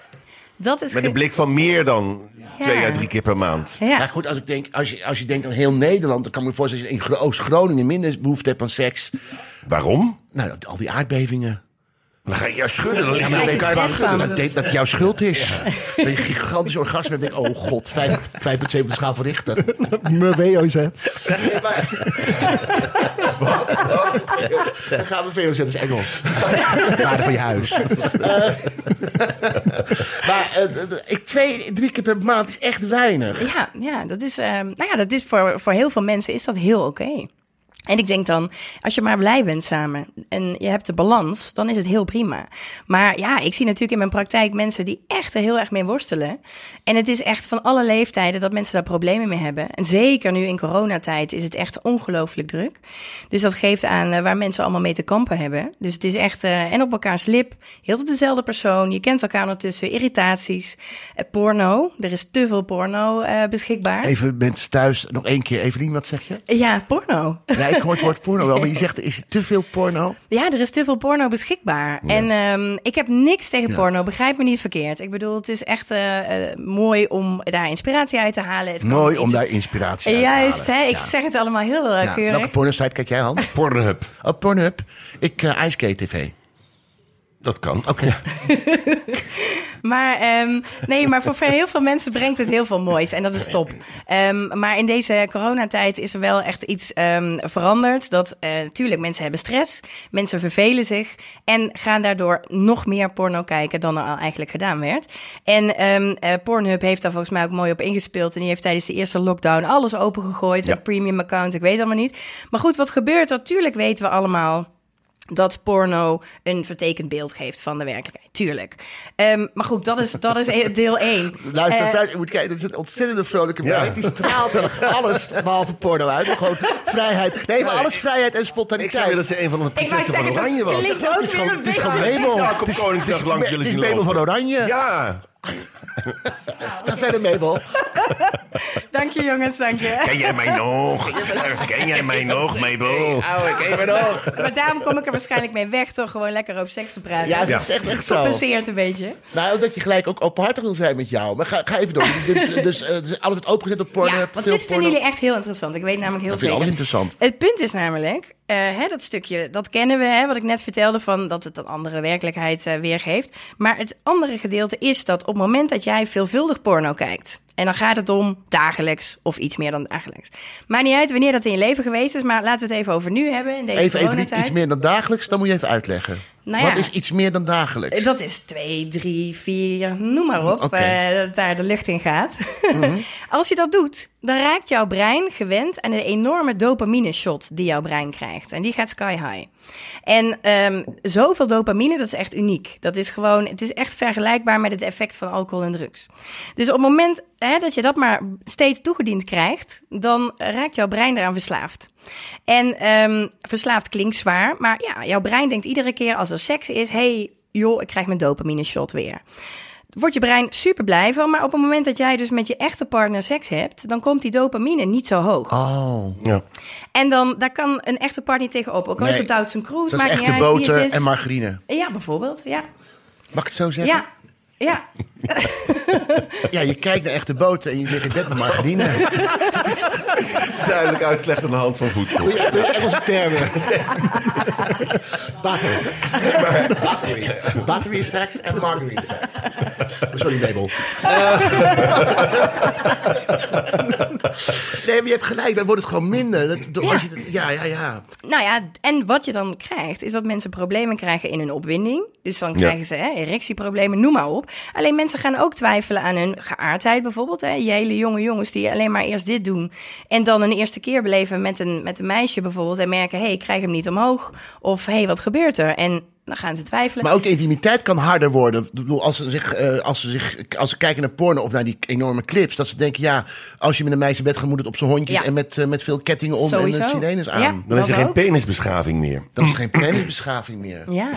K: Dat is
E: Met
K: ge-
E: een blik van meer dan
K: Ja.
E: twee à drie keer per maand.
K: Ja.
A: Maar goed, als, ik denk, als, je, als je denkt aan heel Nederland, dan kan ik me voorstellen dat je in Gro- Oost-Groningen minder behoefte hebt aan seks.
E: Waarom?
A: Nou, al die aardbevingen.
E: Dan ga je ja, schudden, dan ligt
K: Ja,
E: er
K: maar
E: een
K: ik
E: keer
K: krijg
E: aan
K: stress van.
E: schudden.
A: Dat, dat het jouw schuld is. Dat je een gigantisch orgasme hebt. en denkt, oh god, vijf- 5,2 op de schaal van Richter.
H: Mijn WOZ.
A: Nee, maar... Dan gaan we VOZ is Engels. Waarde van je huis. Eh, maar eh, eh, ik, twee, drie keer per maand is echt weinig.
K: Ja, ja, dat is, ehm, nou ja, dat is voor, voor heel veel mensen is dat heel oké. En ik denk dan, als je maar blij bent samen en je hebt de balans, dan is het heel prima. Maar ja, ik zie natuurlijk in mijn praktijk mensen die echt er heel erg mee worstelen. En het is echt van alle leeftijden dat mensen daar problemen mee hebben. En zeker nu in coronatijd is het echt ongelooflijk druk. Dus dat geeft aan eh, waar mensen allemaal mee te kampen hebben. Dus het is echt, eh, en op elkaars lip, heel tot dezelfde persoon. Je kent elkaar ondertussen, irritaties, eh, porno. Er is te veel porno eh, beschikbaar.
A: Even mensen thuis, nog één keer. Evelien, wat zeg je?
K: Ja, porno.
A: Nee, ik hoor het woord porno wel, maar je zegt, is er te veel porno?
K: Ja, er is te veel porno beschikbaar. En ehm, ik heb niks tegen porno, begrijp me niet verkeerd. Ik bedoel, het is echt eh, eh, mooi om daar inspiratie uit te halen. Het kan
A: Mooi om
K: iets-
A: daar inspiratie uit te halen.
K: Juist, hè? ik
A: Ja.
K: zeg het allemaal heel eh,
A: Ja,
K: keurig.
A: welke pornosite kijk jij, Hans?
E: Pornhub,
A: Oh, Pornhub. Ik, uh, TV.
E: dat kan.
A: Oké.
K: Maar, ehm, nee, maar voor heel veel mensen brengt het heel veel moois. En dat is top. Ehm, maar in deze coronatijd is er wel echt iets ehm, veranderd. Dat eh, natuurlijk, mensen hebben stress. Mensen vervelen zich. En gaan daardoor nog meer porno kijken dan er al eigenlijk gedaan werd. En ehm, eh, Pornhub heeft daar volgens mij ook mooi op ingespeeld. En die heeft tijdens de eerste lockdown alles opengegooid.
E: Ja.
K: Een premium account, ik weet allemaal niet. Maar goed, wat gebeurt er? Tuurlijk weten we allemaal dat porno een vertekend beeld geeft van de werkelijkheid. Tuurlijk. Ehm, maar goed, dat is, dat is e- deel 1.
A: Luister, luister, je moet kijken, er zit een ontzettende vrolijke meid. Die straalt echt alles behalve porno uit. Maar Gewoon vrijheid. Nee, maar alles vrijheid en spontaniteit.
E: Ik zou willen dat ze een van de prinsessen van Oranje was.
A: Het is gewoon- Het is gewoon Mabel.
E: Ja, kom Koningsdag langs
A: Het
E: jullie
A: is
E: zien
A: Mabel van
E: lopen.
A: Oranje.
E: Ja.
A: Ga verder, Mabel.
K: Dank je jongens, dank je.
E: Ken jij mij nog? Ken jij mij nog, Mabel?
A: Oude, ken je mij nog?
K: Maar daarom kom ik er waarschijnlijk mee weg, toch? Gewoon lekker over seks te praten.
A: Ja, dat is echt- echt zo.
K: Compenseert een beetje.
A: Nou, omdat je gelijk ook openhartig wil zijn met jou. Maar ga, ga even door. Dit- dus eh, het is altijd opengezet op porno.
K: ja,
A: veel
K: want dit vinden
A: porno.
K: jullie echt heel interessant. Ik weet namelijk heel
A: Dat vind ik alles
K: zeker.
A: interessant.
K: Het punt is namelijk, eh, hè, dat stukje, dat kennen we, hè, wat ik net vertelde, van dat het een andere werkelijkheid eh, weergeeft. Maar het andere gedeelte is dat op het moment dat jij veelvuldig porno kijkt, en dan gaat het om dagelijks of iets meer dan dagelijks. Maakt niet uit wanneer dat in je leven geweest is, maar laten we het even over nu hebben, in deze
A: Even, even niet
K: coronatijd.
A: iets meer dan dagelijks, dan moet je even uitleggen.
K: Nou ja.
A: Wat is iets meer dan dagelijks?
K: Dat is twee, drie, vier, noem maar op,
A: Oké.
K: eh, dat daar de lucht in gaat. Als je dat doet, dan raakt jouw brein gewend aan de enorme dopamine-shot die jouw brein krijgt. En die gaat sky high. En ehm, zoveel dopamine, dat is echt uniek. Dat is gewoon, het is echt vergelijkbaar met het effect van alcohol en drugs. Dus op het moment hè, dat je dat maar steeds toegediend krijgt, dan raakt jouw brein eraan verslaafd. En ehm, verslaafd klinkt zwaar, maar ja, jouw brein denkt iedere keer als er seks is: hey, joh, ik krijg mijn dopamine shot weer. Wordt je brein super blij van, maar op het moment dat jij dus met je echte partner seks hebt, dan komt die dopamine niet zo hoog.
A: Oh. Ja.
K: En dan daar kan een echte partner niet tegenop. Ook al is
A: Nee,
K: het Duitse Cruise,
A: Dat is
K: maakt
A: echte
K: niet uit wie
A: boter
K: het is.
A: en margarine.
K: Ja, bijvoorbeeld. Ja,
A: Mag ik het zo zeggen?
K: ja, ja.
A: Ja, je kijkt naar echte boter en je ligt in bed met margarine.
E: Duidelijk uitgelegd aan de hand van voedsel.
A: Engelse termen. Battery. Battery. Battery seks en margarine seks. Sorry, Mabel. Nee, maar je hebt gelijk, dan wordt het gewoon minder. Dat, door- als je, dat- ja, ja, ja.
K: Nou ja, en wat je dan krijgt, is dat mensen problemen krijgen in hun opwinding. Dus dan
A: Ja.
K: krijgen ze hè, erectieproblemen, noem maar op. Alleen mensen gaan ook twijfelen aan hun geaardheid bijvoorbeeld. Hè. Je hele jonge jongens die alleen maar eerst dit doen. En dan een eerste keer beleven met een, met een meisje bijvoorbeeld. En merken, hé, hey, ik krijg hem niet omhoog. Of hé, hey, wat gebeurt er? En dan gaan ze twijfelen.
A: Maar ook de intimiteit kan harder worden. Ik bedoel, als ze, zich, eh, als, ze zich, als ze kijken naar porno of naar die enorme clips... dat ze denken, ja, als je met een meisje in bed gaat... moet het op zijn hondjes
K: Ja.
A: en met, eh, met veel kettingen om en
K: Sowieso.
A: een sirenes aan.
K: Ja,
E: Dan is er
K: dat
E: geen
K: ook.
E: penisbeschaving meer.
A: Dan is er geen penisbeschaving meer.
K: Ja,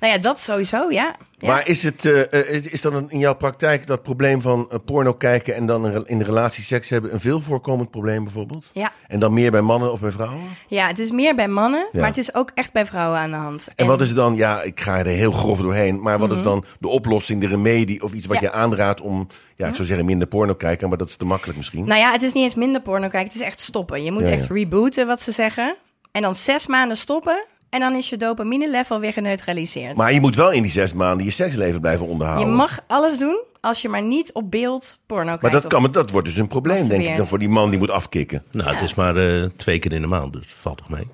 K: nou ja, dat sowieso, ja. ja.
E: Maar is het eh, eh, is dan een- in jouw praktijk dat probleem van eh, porno kijken en dan een re- in de relatie seks hebben een veel voorkomend probleem bijvoorbeeld?
K: Ja.
E: En dan meer bij mannen of bij vrouwen?
K: ja, het is meer bij mannen,
E: Ja.
K: maar het is ook echt bij vrouwen aan de hand.
E: En wat is het dan, ja, ik ga er heel grof doorheen, maar wat
K: Mhm.
E: is dan de oplossing, de remedie of iets wat
K: Ja.
E: je aanraadt om, ja, ik zou zeggen minder porno kijken, maar dat is te makkelijk misschien.
K: Nou ja, het is niet eens minder porno kijken. Het is echt stoppen. Je moet
E: Ja, ja.
K: echt rebooten, wat ze zeggen. En dan zes maanden stoppen. En dan is je dopamine level weer geneutraliseerd.
E: Maar je moet wel in die zes maanden je seksleven blijven
K: je
E: onderhouden.
K: mag alles doen als je maar niet op beeld porno kijkt.
E: Nou. maar dat,
K: of-
E: kan, dat wordt dus een probleem, denk ik,
K: Masturbeert.
E: dan voor die man die moet afkicken.
G: Nou, het is maar eh, twee keer in de maand, dus valt toch mee.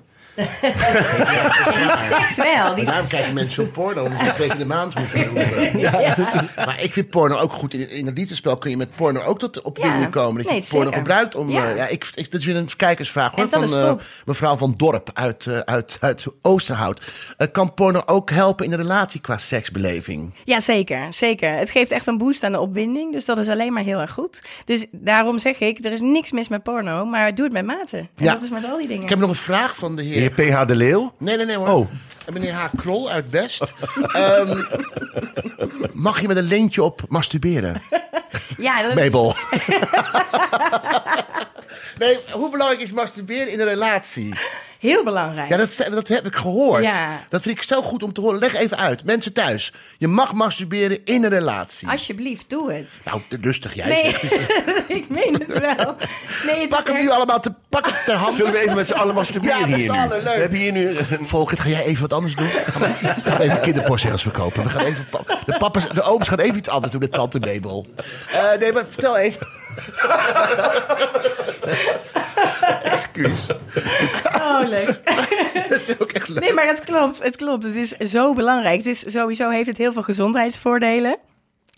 K: Seks wel. Die...
A: Daarom kijken mensen veel porno, omdat je twee keer de maand moet verroeren. Maar ik vind porno ook goed. In, in het liefdesspel kun je met porno ook tot op
K: Ja.
A: dingen komen. Dat je
K: Nee,
A: porno
K: zeker.
A: gebruikt om... eh, Ja.
K: Ja.
A: ik, ik, dat is weer een kijkersvraag hoor.
K: En dat
A: Van
K: is
A: eh,
K: top.
A: mevrouw Van Dorp uit, eh, uit, uit Oosterhout. Eh, kan porno ook helpen in de relatie qua seksbeleving?
K: Ja, zeker, zeker. Het geeft echt een boost aan de opwinding. Dus dat is alleen maar heel erg goed. Dus daarom zeg ik, er is niks mis met porno. Maar doe het met mate. En
A: Ja.
K: dat is met al die dingen.
A: Ik heb nog een vraag van de heer...
E: Heer PH de Leeuw?
A: Nee, nee, nee hoor.
E: Oh.
A: En meneer H. Krol uit Best. Ehm, mag je met een lintje op masturberen?
K: Ja, dat is-
A: Mabel. nee, hoe belangrijk is masturberen in een relatie?
K: Heel belangrijk.
A: Ja, dat, dat heb ik gehoord.
K: Ja.
A: Dat vind ik zo goed om te horen. Leg even uit, mensen thuis. Je mag masturberen in een relatie.
K: Alsjeblieft, doe het.
A: Nou, te rustig jij.
K: Nee,
A: zegt.
K: ik meen het wel. Nee, het
A: Pak
K: is
A: hem
K: echt-
A: nu allemaal te, pak hem ter hand.
E: Zullen we even met z'n allen masturberen
A: Ja, met
E: hier
A: z'n
E: nu?
A: allen, leuk.
E: We hebben hier nu...
A: Volkert, ga jij even wat anders doen? Ga maar- Ga maar even kinderporcels verkopen. We gaan even pa- de, papa's, de ooms gaan even iets anders doen, de tante Mabel. Eh, nee, maar vertel even.
E: Excuus.
K: Oh, leuk.
A: Dat is ook echt leuk.
K: Nee, maar het klopt. Het klopt. Het is zo belangrijk. Het is, sowieso heeft het heel veel gezondheidsvoordelen.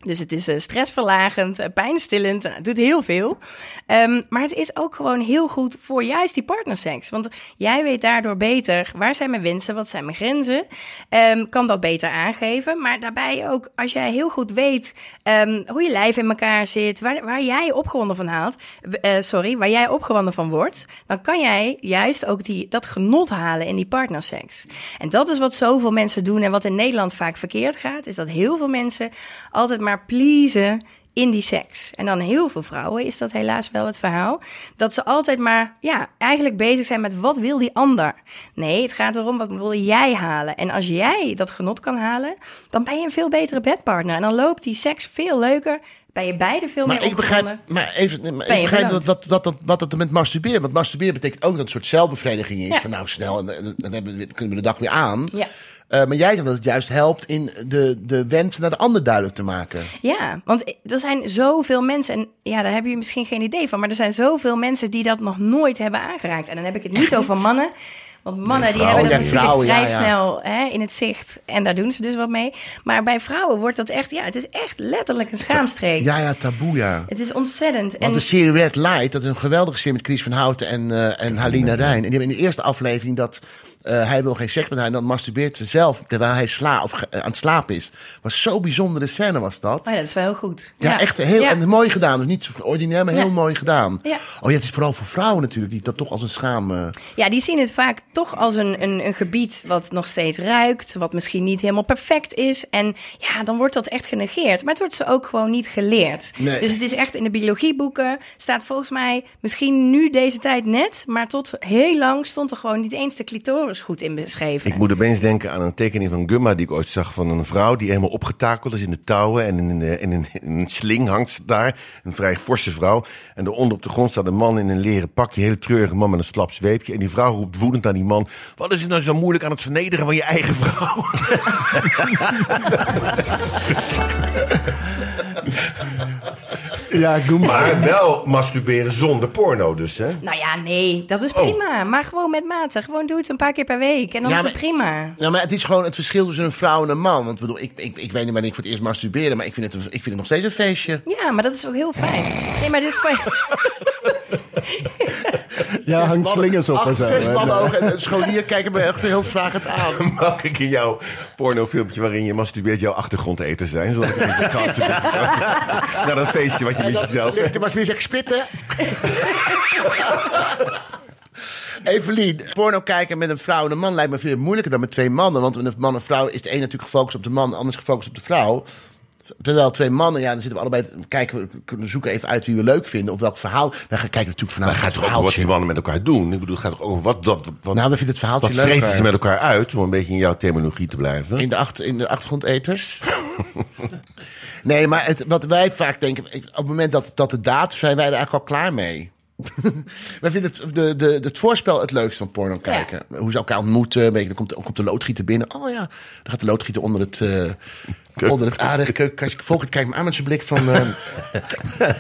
K: Dus het is eh, stressverlagend, eh, pijnstillend, nou, het doet heel veel. Ehm, maar het is ook gewoon heel goed voor juist die partnerseks. Want jij weet daardoor beter waar zijn mijn wensen, wat zijn mijn grenzen. Ehm, kan dat beter aangeven. Maar daarbij ook, als jij heel goed weet ehm, hoe je lijf in elkaar zit, waar, waar jij opgewonden van haalt, eh, sorry, waar jij opgewonden van wordt, dan kan jij juist ook die, dat genot halen in die partnerseks. En dat is wat zoveel mensen doen en wat in Nederland vaak verkeerd gaat, is dat heel veel mensen altijd maar pleasen in die seks. En dan heel veel vrouwen is dat helaas wel het verhaal. Dat ze altijd maar, ja, eigenlijk bezig zijn met wat wil die ander? Nee, het gaat erom wat wil jij halen. En als jij dat genot kan halen, dan ben je een veel betere bedpartner. En dan loopt die seks veel leuker. Ben je beide veel
A: Maar
K: meer
A: ik begrijp,
K: opgewonden.
A: maar even, maar
K: Ben
A: ik
K: je
A: begrijp
K: beloond?
A: wat, wat, wat, dat- wat dat met masturberen. Want masturberen betekent ook dat het een soort zelfbevrediging is.
K: Ja.
A: Van nou snel, en, en- dan hebben we, weer- kunnen we de dag weer aan.
K: Ja.
A: Eh, maar jij zegt dat het juist helpt in de, de wens naar de ander duidelijk te maken.
K: Ja, want er zijn zoveel mensen, en ja, daar heb je misschien geen idee van, maar er zijn zoveel mensen die dat nog nooit hebben aangeraakt. En dan heb ik het niet over mannen, want mannen die
A: vrouwen,
K: hebben dat
A: ja,
K: natuurlijk
A: vrouwen, ja,
K: vrij
A: ja.
K: snel hè, in het zicht en daar doen ze dus wat mee. Maar bij vrouwen wordt dat echt, ja, het is echt letterlijk een schaamstreek.
A: Ja, ja, taboe, ja.
K: Het is ontzettend.
A: Want
K: en,
A: de serie Red Light, dat is een geweldige serie met Chris van Houten en, eh, en Halina Rijn. En die hebben in de eerste aflevering dat eh, hij wil geen seks met haar. En dan masturbeert ze zelf terwijl hij sla, of, ge- eh, aan het slapen is. Was zo'n bijzondere scène was dat.
K: oh ja, dat is wel heel goed.
A: Ja, echt heel
K: Ja.
A: En mooi gedaan. Dus niet zo ordinair, maar heel
K: Ja.
A: mooi gedaan.
K: Ja.
A: Oh ja, het is vooral voor vrouwen natuurlijk, die dat toch als een schaam... eh,
K: Ja, die zien het vaak toch als een, een, een gebied wat nog steeds ruikt, wat misschien niet helemaal perfect is. En ja, dan wordt dat echt genegeerd. Maar het wordt ze ook gewoon niet geleerd.
O: Nee.
K: Dus het is echt in de biologieboeken staat volgens mij misschien nu deze tijd net, maar tot heel lang stond er gewoon niet eens de clitoris goed in beschreven.
E: Ik moet opeens denken aan een tekening van Gumma die ik ooit zag van een vrouw die helemaal opgetakeld is in de touwen en in, de- in, een- in een sling hangt ze daar. Een vrij forse vrouw. En daaronder op de grond staat een man in een leren pakje, een hele treurige man met een slap zweepje. En die vrouw roept woedend aan die man, wat is het nou zo moeilijk aan het vernederen van je eigen vrouw?
H: ja, Goomba.
E: Maar wel masturberen zonder porno dus, hè?
K: Nou ja, nee, dat is prima. Maar gewoon met mate. Gewoon doe het een paar keer per week en dan
A: Oh. Ja,
K: is het
A: maar-
K: prima.
A: Ja, maar het is gewoon het verschil tussen een vrouw en een man. Want ik bedoel, ik, ik, ik weet niet wanneer ik voor het eerst masturbeerde, maar ik vind, het, een- ik vind het nog steeds een feestje.
K: Ja, maar dat is ook heel fijn. Nee, maar dit is fijn.
H: Ja, hangt slingers op en
A: Acht,
H: zo.
A: zes
H: hè.
A: mannen ogen en een scholier kijken me echt heel vragend aan.
E: Mag ik in jouw pornofilmpje waarin je masturbeert jouw achtergrond eten zijn? Zodat ik niet de kans heb. Naar dat feestje wat je
A: En
E: met
A: dan
E: jezelf
A: ligt er maar zoiets, ik spitten. Evelien, porno kijken met een vrouw en een man lijkt me veel moeilijker dan met twee mannen. Want met een man en vrouw is de een natuurlijk gefocust op de man, de ander is gefocust op de vrouw. Terwijl twee mannen, ja, dan zitten we allebei. Kijken we, kunnen zoeken even uit wie we leuk vinden. Of welk verhaal. Wij gaan kijken natuurlijk
E: Maar
A: vanuit
E: het gaat
A: het
E: toch ook over wat
A: verhaaltje.
E: die mannen met elkaar doen? Ik bedoel, het gaat toch over wat... dat wat
A: Nou, we vinden het verhaaltje
E: Wat vreten
A: leuker.
E: ze met elkaar uit, om een beetje in jouw terminologie te blijven?
A: In de, achter, in de achtergrondeters. nee, maar het, wat wij vaak denken. ik- Op het moment dat, dat de daad, zijn wij er eigenlijk al klaar mee. wij vinden het, de, de, het voorspel het leukst van porno kijken. Hoe ze elkaar ontmoeten. een beetje, Dan komt, de- komt de loodgieter binnen. Oh ja, dan gaat de loodgieter onder het. eh onder het aardige keukenkastje. Volgend kijkt me aan met zijn blik van. eh,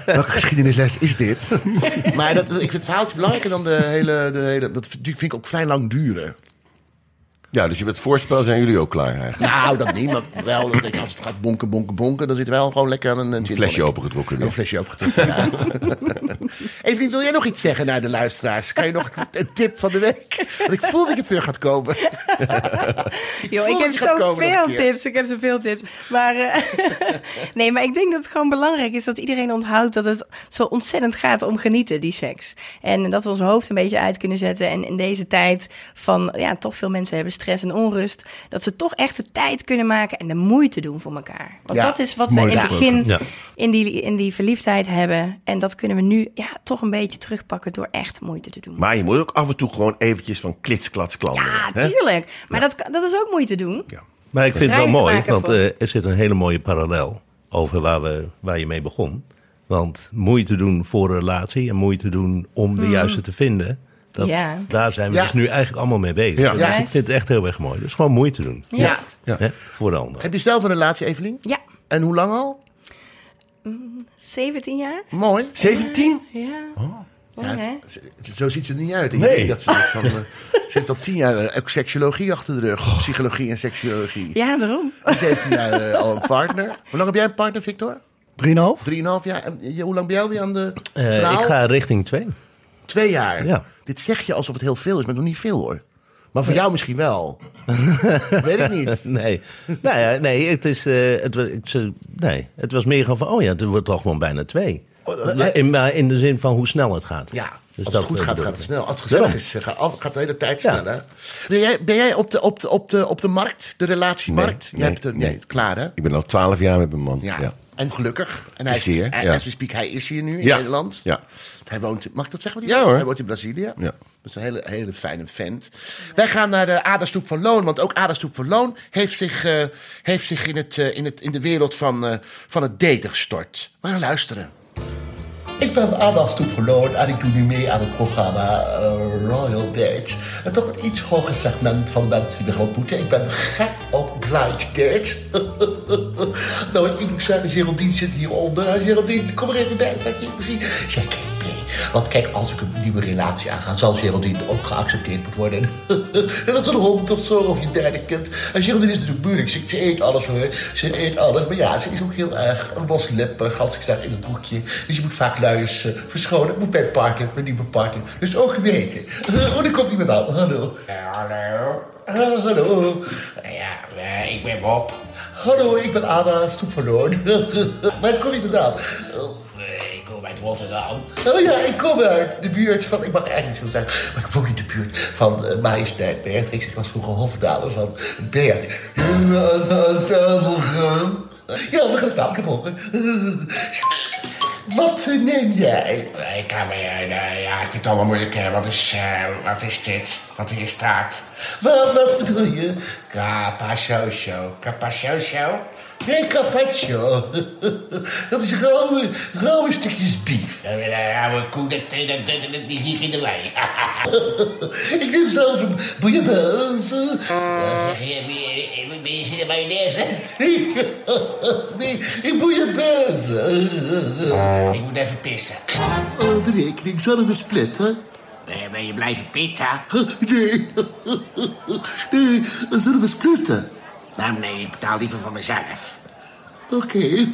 A: welke geschiedenisles is dit? maar dat, ik vind het verhaaltje belangrijker dan de hele. De hele dat vind ik ook vrij lang duren.
E: Ja, dus met het voorspel zijn jullie ook klaar eigenlijk.
A: Nou, dat niet, maar wel dat ik, als het gaat bonken, bonken, bonken, dan zit wel gewoon lekker een, een
E: Flesje opengetrokken.
A: Een flesje opengetrokken. Ja. Even, wil jij nog iets zeggen naar de luisteraars? Kan je nog een tip van de week? Want ik voel dat je terug gaat komen.
K: Yo,
A: voel
K: ik heb
A: dat je gaat komen nog
K: zoveel
A: een keer.
K: tips. Ik heb zoveel tips. Maar, eh, nee, maar ik denk dat het gewoon belangrijk is dat iedereen onthoudt dat het zo ontzettend gaat om genieten, die seks. En dat we ons hoofd een beetje uit kunnen zetten. En in deze tijd van, ja, toch veel mensen hebben stress en onrust. Dat ze toch echt de tijd kunnen maken en de moeite doen voor elkaar. Want
O: Ja,
K: dat is wat we in
O: mooi
K: het
O: gesproken.
K: begin
O: Ja.
K: in, die, in die verliefdheid hebben. En dat kunnen we nu ja, toch een beetje terugpakken door echt moeite te doen.
E: Maar je moet ook af en toe gewoon eventjes van klitsklats klanderen.
K: Ja,
E: hè?
K: tuurlijk. Maar dat, kan- dat is ook moeite doen.
G: Maar ik vind het wel
K: Vrij te
G: mooi,
K: maken
G: want
K: voor-
G: eh, er zit een hele mooie parallel over waar, we, waar je mee begon. Want moeite doen voor een relatie en moeite doen om de
K: Mhm.
G: juiste te vinden. Dat,
K: Ja.
G: Daar zijn we
A: Ja.
G: dus nu eigenlijk allemaal mee bezig.
A: Ja.
G: Dus ik
A: Juist.
G: vind het echt heel erg mooi. Dus gewoon moeite doen.
K: Ja. Juist.
G: Hè, voor de ander.
A: Heb je zelf een relatie, Evelien?
K: Ja.
A: En hoe lang al?
K: Mm, 17 jaar?
A: Mooi.
E: 17?
K: Ja.
A: Ja,
K: hè?
A: z- z- zo ziet ze er niet uit. Ik
B: Nee.
A: denk dat ze, dat van, eh, ze heeft al tien jaar eh, ook seksologie achter de rug. Psychologie en seksologie.
K: Ja, daarom.
A: En ze heeft tien jaar eh, al een partner. Hoe lang heb jij een partner, Victor?
H: Drieënhalf?
A: Drieënhalf jaar. En je- hoe lang ben jij alweer aan de
G: Eh,
A: vrouw?
G: ik ga richting twee.
A: Twee jaar?
G: Ja.
A: Dit zeg je alsof het heel veel is, maar nog niet veel hoor. Maar voor jou misschien wel. Weet ik niet.
G: nee. Nou ja, nee, het is, eh, het, wa- ik ze- nee, het was meer gewoon van, oh ja, het wordt al gewoon bijna twee.
A: eh,
G: In, maar in de zin van hoe snel het gaat.
A: Ja,
G: Dus
A: als
G: dat,
A: het goed
G: eh,
A: gaat,
G: bedoel
A: gaat het
G: ik.
A: snel. Als het gezellig
G: Daarom.
A: is, gaat, al- gaat de hele tijd snel. Hè? Ben jij, ben jij op, de, op, de, op, de, op de markt, de relatiemarkt? jij
E: Nee, nee,
A: hebt er, nee,
E: nee.
A: klaar hè?
E: Ik ben al twaalf jaar met mijn man.
A: Ja.
E: Ja.
A: En gelukkig. En hij
E: Is hij, hè?
A: hij-
E: Ja.
A: as we speak, hij is hier nu in
E: Ja.
A: Nederland.
E: Ja.
A: Hij woont, mag ik dat zeggen? wat
E: Ja,
A: hij-
E: hoor.
A: Hij woont in Brazilië.
E: Ja.
A: Dat is een hele, hele fijne vent. Wij gaan naar de Aderstoep van Loon. Want ook Aderstoep van Loon heeft zich, eh, heeft zich in, het, eh, in, het, in de wereld van, eh, van het daten gestort. We gaan luisteren. Ik ben Ada Stoepgeloon en ik doe nu mee aan het programma eh, Royal Dates. En toch een iets hoger segment van de mensen die me gaan ontmoeten. Ik ben gek op blind dates. nou, ik moet zeggen, Geraldine zit hieronder. Eh, Geraldine, kom er even bij, dat je even zien. Zij kijkt mee. Want kijk, als ik een nieuwe relatie aanga, zal Geraldine ook geaccepteerd moeten worden. dat is een hond of zo, of je derde kind. En Geraldine is natuurlijk moeilijk. Ze, ze eet alles hoor. Ze eet alles. Maar ja, ze is ook heel erg loslippig, als ik zeg, in het boekje. Dus je moet vaak luiers eh, verschonen. Dat moet bij een partner, mijn nieuwe partner. Dus ook weten. Oh, daar komt iemand aan. Hallo.
O: Eh, Hallo.
A: Ah, hallo.
O: Ja, eh, ik ben Bob.
A: Hallo, ik ben Ada Stoepverloon. Waar kom je vandaan?
O: Eh, Ik kom uit Rotterdam.
A: Oh ja, ik kom uit de buurt van... Ik mag eigenlijk niet zo zeggen, maar ik woon in de buurt van uh, Majesteit Beatrix. Ik was vroeger hofdaler van Beatrix. Ja, we gaan het tafel volgen. Wat eh, neem jij?
O: Ik kan me, eh, nou ja, ik vind het allemaal moeilijk. hè. Wat is, eh, wat is dit? Wat hier staat?
A: Wat, wat bedoel je?
O: Capachocho. Capachocho?
A: Nee, carpaccio. Dat is rauwe, rauwe stukjes bief.
O: Eh, Oude koe, dat, dat, dat, dat, dat die hier in de wei.
A: Ik neem zelf een bouillabaisse.
O: Zeg je, ben je- eh, ben je- ben je geen mayonaise?
A: Nee, nee, ik bouillabaisse.
O: Ik moet even pissen.
A: Oh, de rekening, zullen we splitten?
O: Eh, Ben je blijven pizza?
A: Nee. Nee, zullen we splitten?
O: Nou nee, ik betaal liever van mezelf.
A: Oké.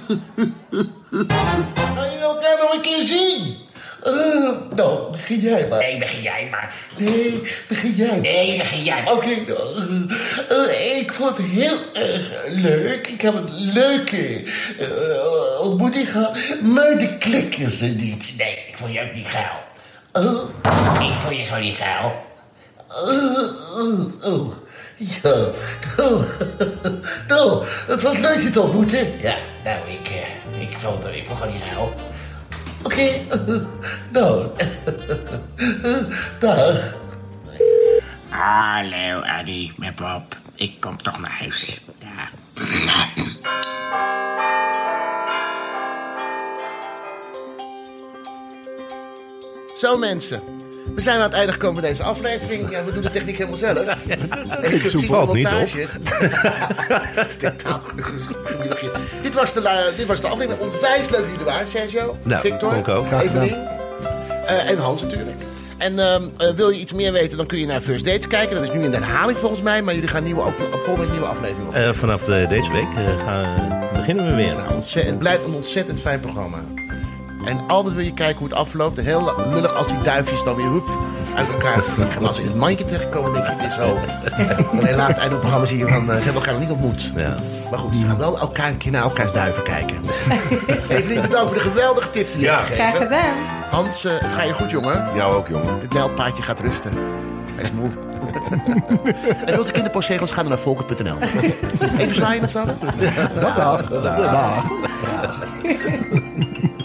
A: Kan je elkaar nog een keer zien? Eh, nou, begin jij maar.
O: Nee, begin jij maar.
A: Nee, begin jij maar.
O: Nee, begin jij maar.
A: Oké, nou, eh, eh, ik vond het heel erg leuk. Ik heb een leuke eh, ontmoeting gehad. Maar de klikken ze niet.
O: Nee, ik vond je ook niet geil.
A: Oh,
O: Ik vond je gewoon niet geil.
A: oh, oh, oh. Ja, nou, nou, het was leuk je te ontmoeten.
O: Ja, nou, ik, eh, ik, vond, ik vond gewoon niet geil.
A: Oké, nou, dag.
O: Hallo, Adi, met Bob. Ik kom toch naar huis. Ja.
A: Zo mensen, we zijn aan het einde gekomen van deze aflevering. Ja, we doen de techniek helemaal zelf.
G: Dit
A: zie
G: soep valt
A: de
G: niet op.
A: montage. Dat is totaal- dit, was de, la- dit was de aflevering. Onwijs leuk dat jullie er waren, Sergio,
G: Nou,
A: Victor,
G: vond ik ook. Graag gedaan.
A: Evelien eh, en Hans natuurlijk. En ehm, eh, wil je iets meer weten, dan kun je naar First Dates kijken. Dat is nu in de herhaling volgens mij, maar jullie gaan nieuwe, op, op, volgende week nieuwe aflevering op.
G: Eh, vanaf eh, deze week eh, gaan, beginnen we weer.
A: Ontzettend- het blijft een ontzettend fijn programma. En altijd wil je kijken hoe het afloopt. En heel lullig als die duifjes dan weer hoep, uit elkaar vliegen. Maar als ze in het mandje terechtkomen, denk je, het is over. En helaas, het einde van het programma zie je van, eh, ze hebben elkaar nog niet ontmoet.
G: Ja.
A: Maar goed, ze gaan wel elkaar een keer naar elkaars duiven kijken. Evelien, bedankt voor de geweldige tips die je
E: Ja.
A: hebt gegeven.
K: Graag gedaan.
A: Hans, eh, het gaat je goed, jongen.
E: Jou ook, jongen.
A: Het nijlpaardje gaat rusten. Hij is moe. en wilt u kinderpostzegels, ga dan naar volkert.nl. Even zwaaien met z'n allen. Dag, dag.
E: Dag.
A: Ja.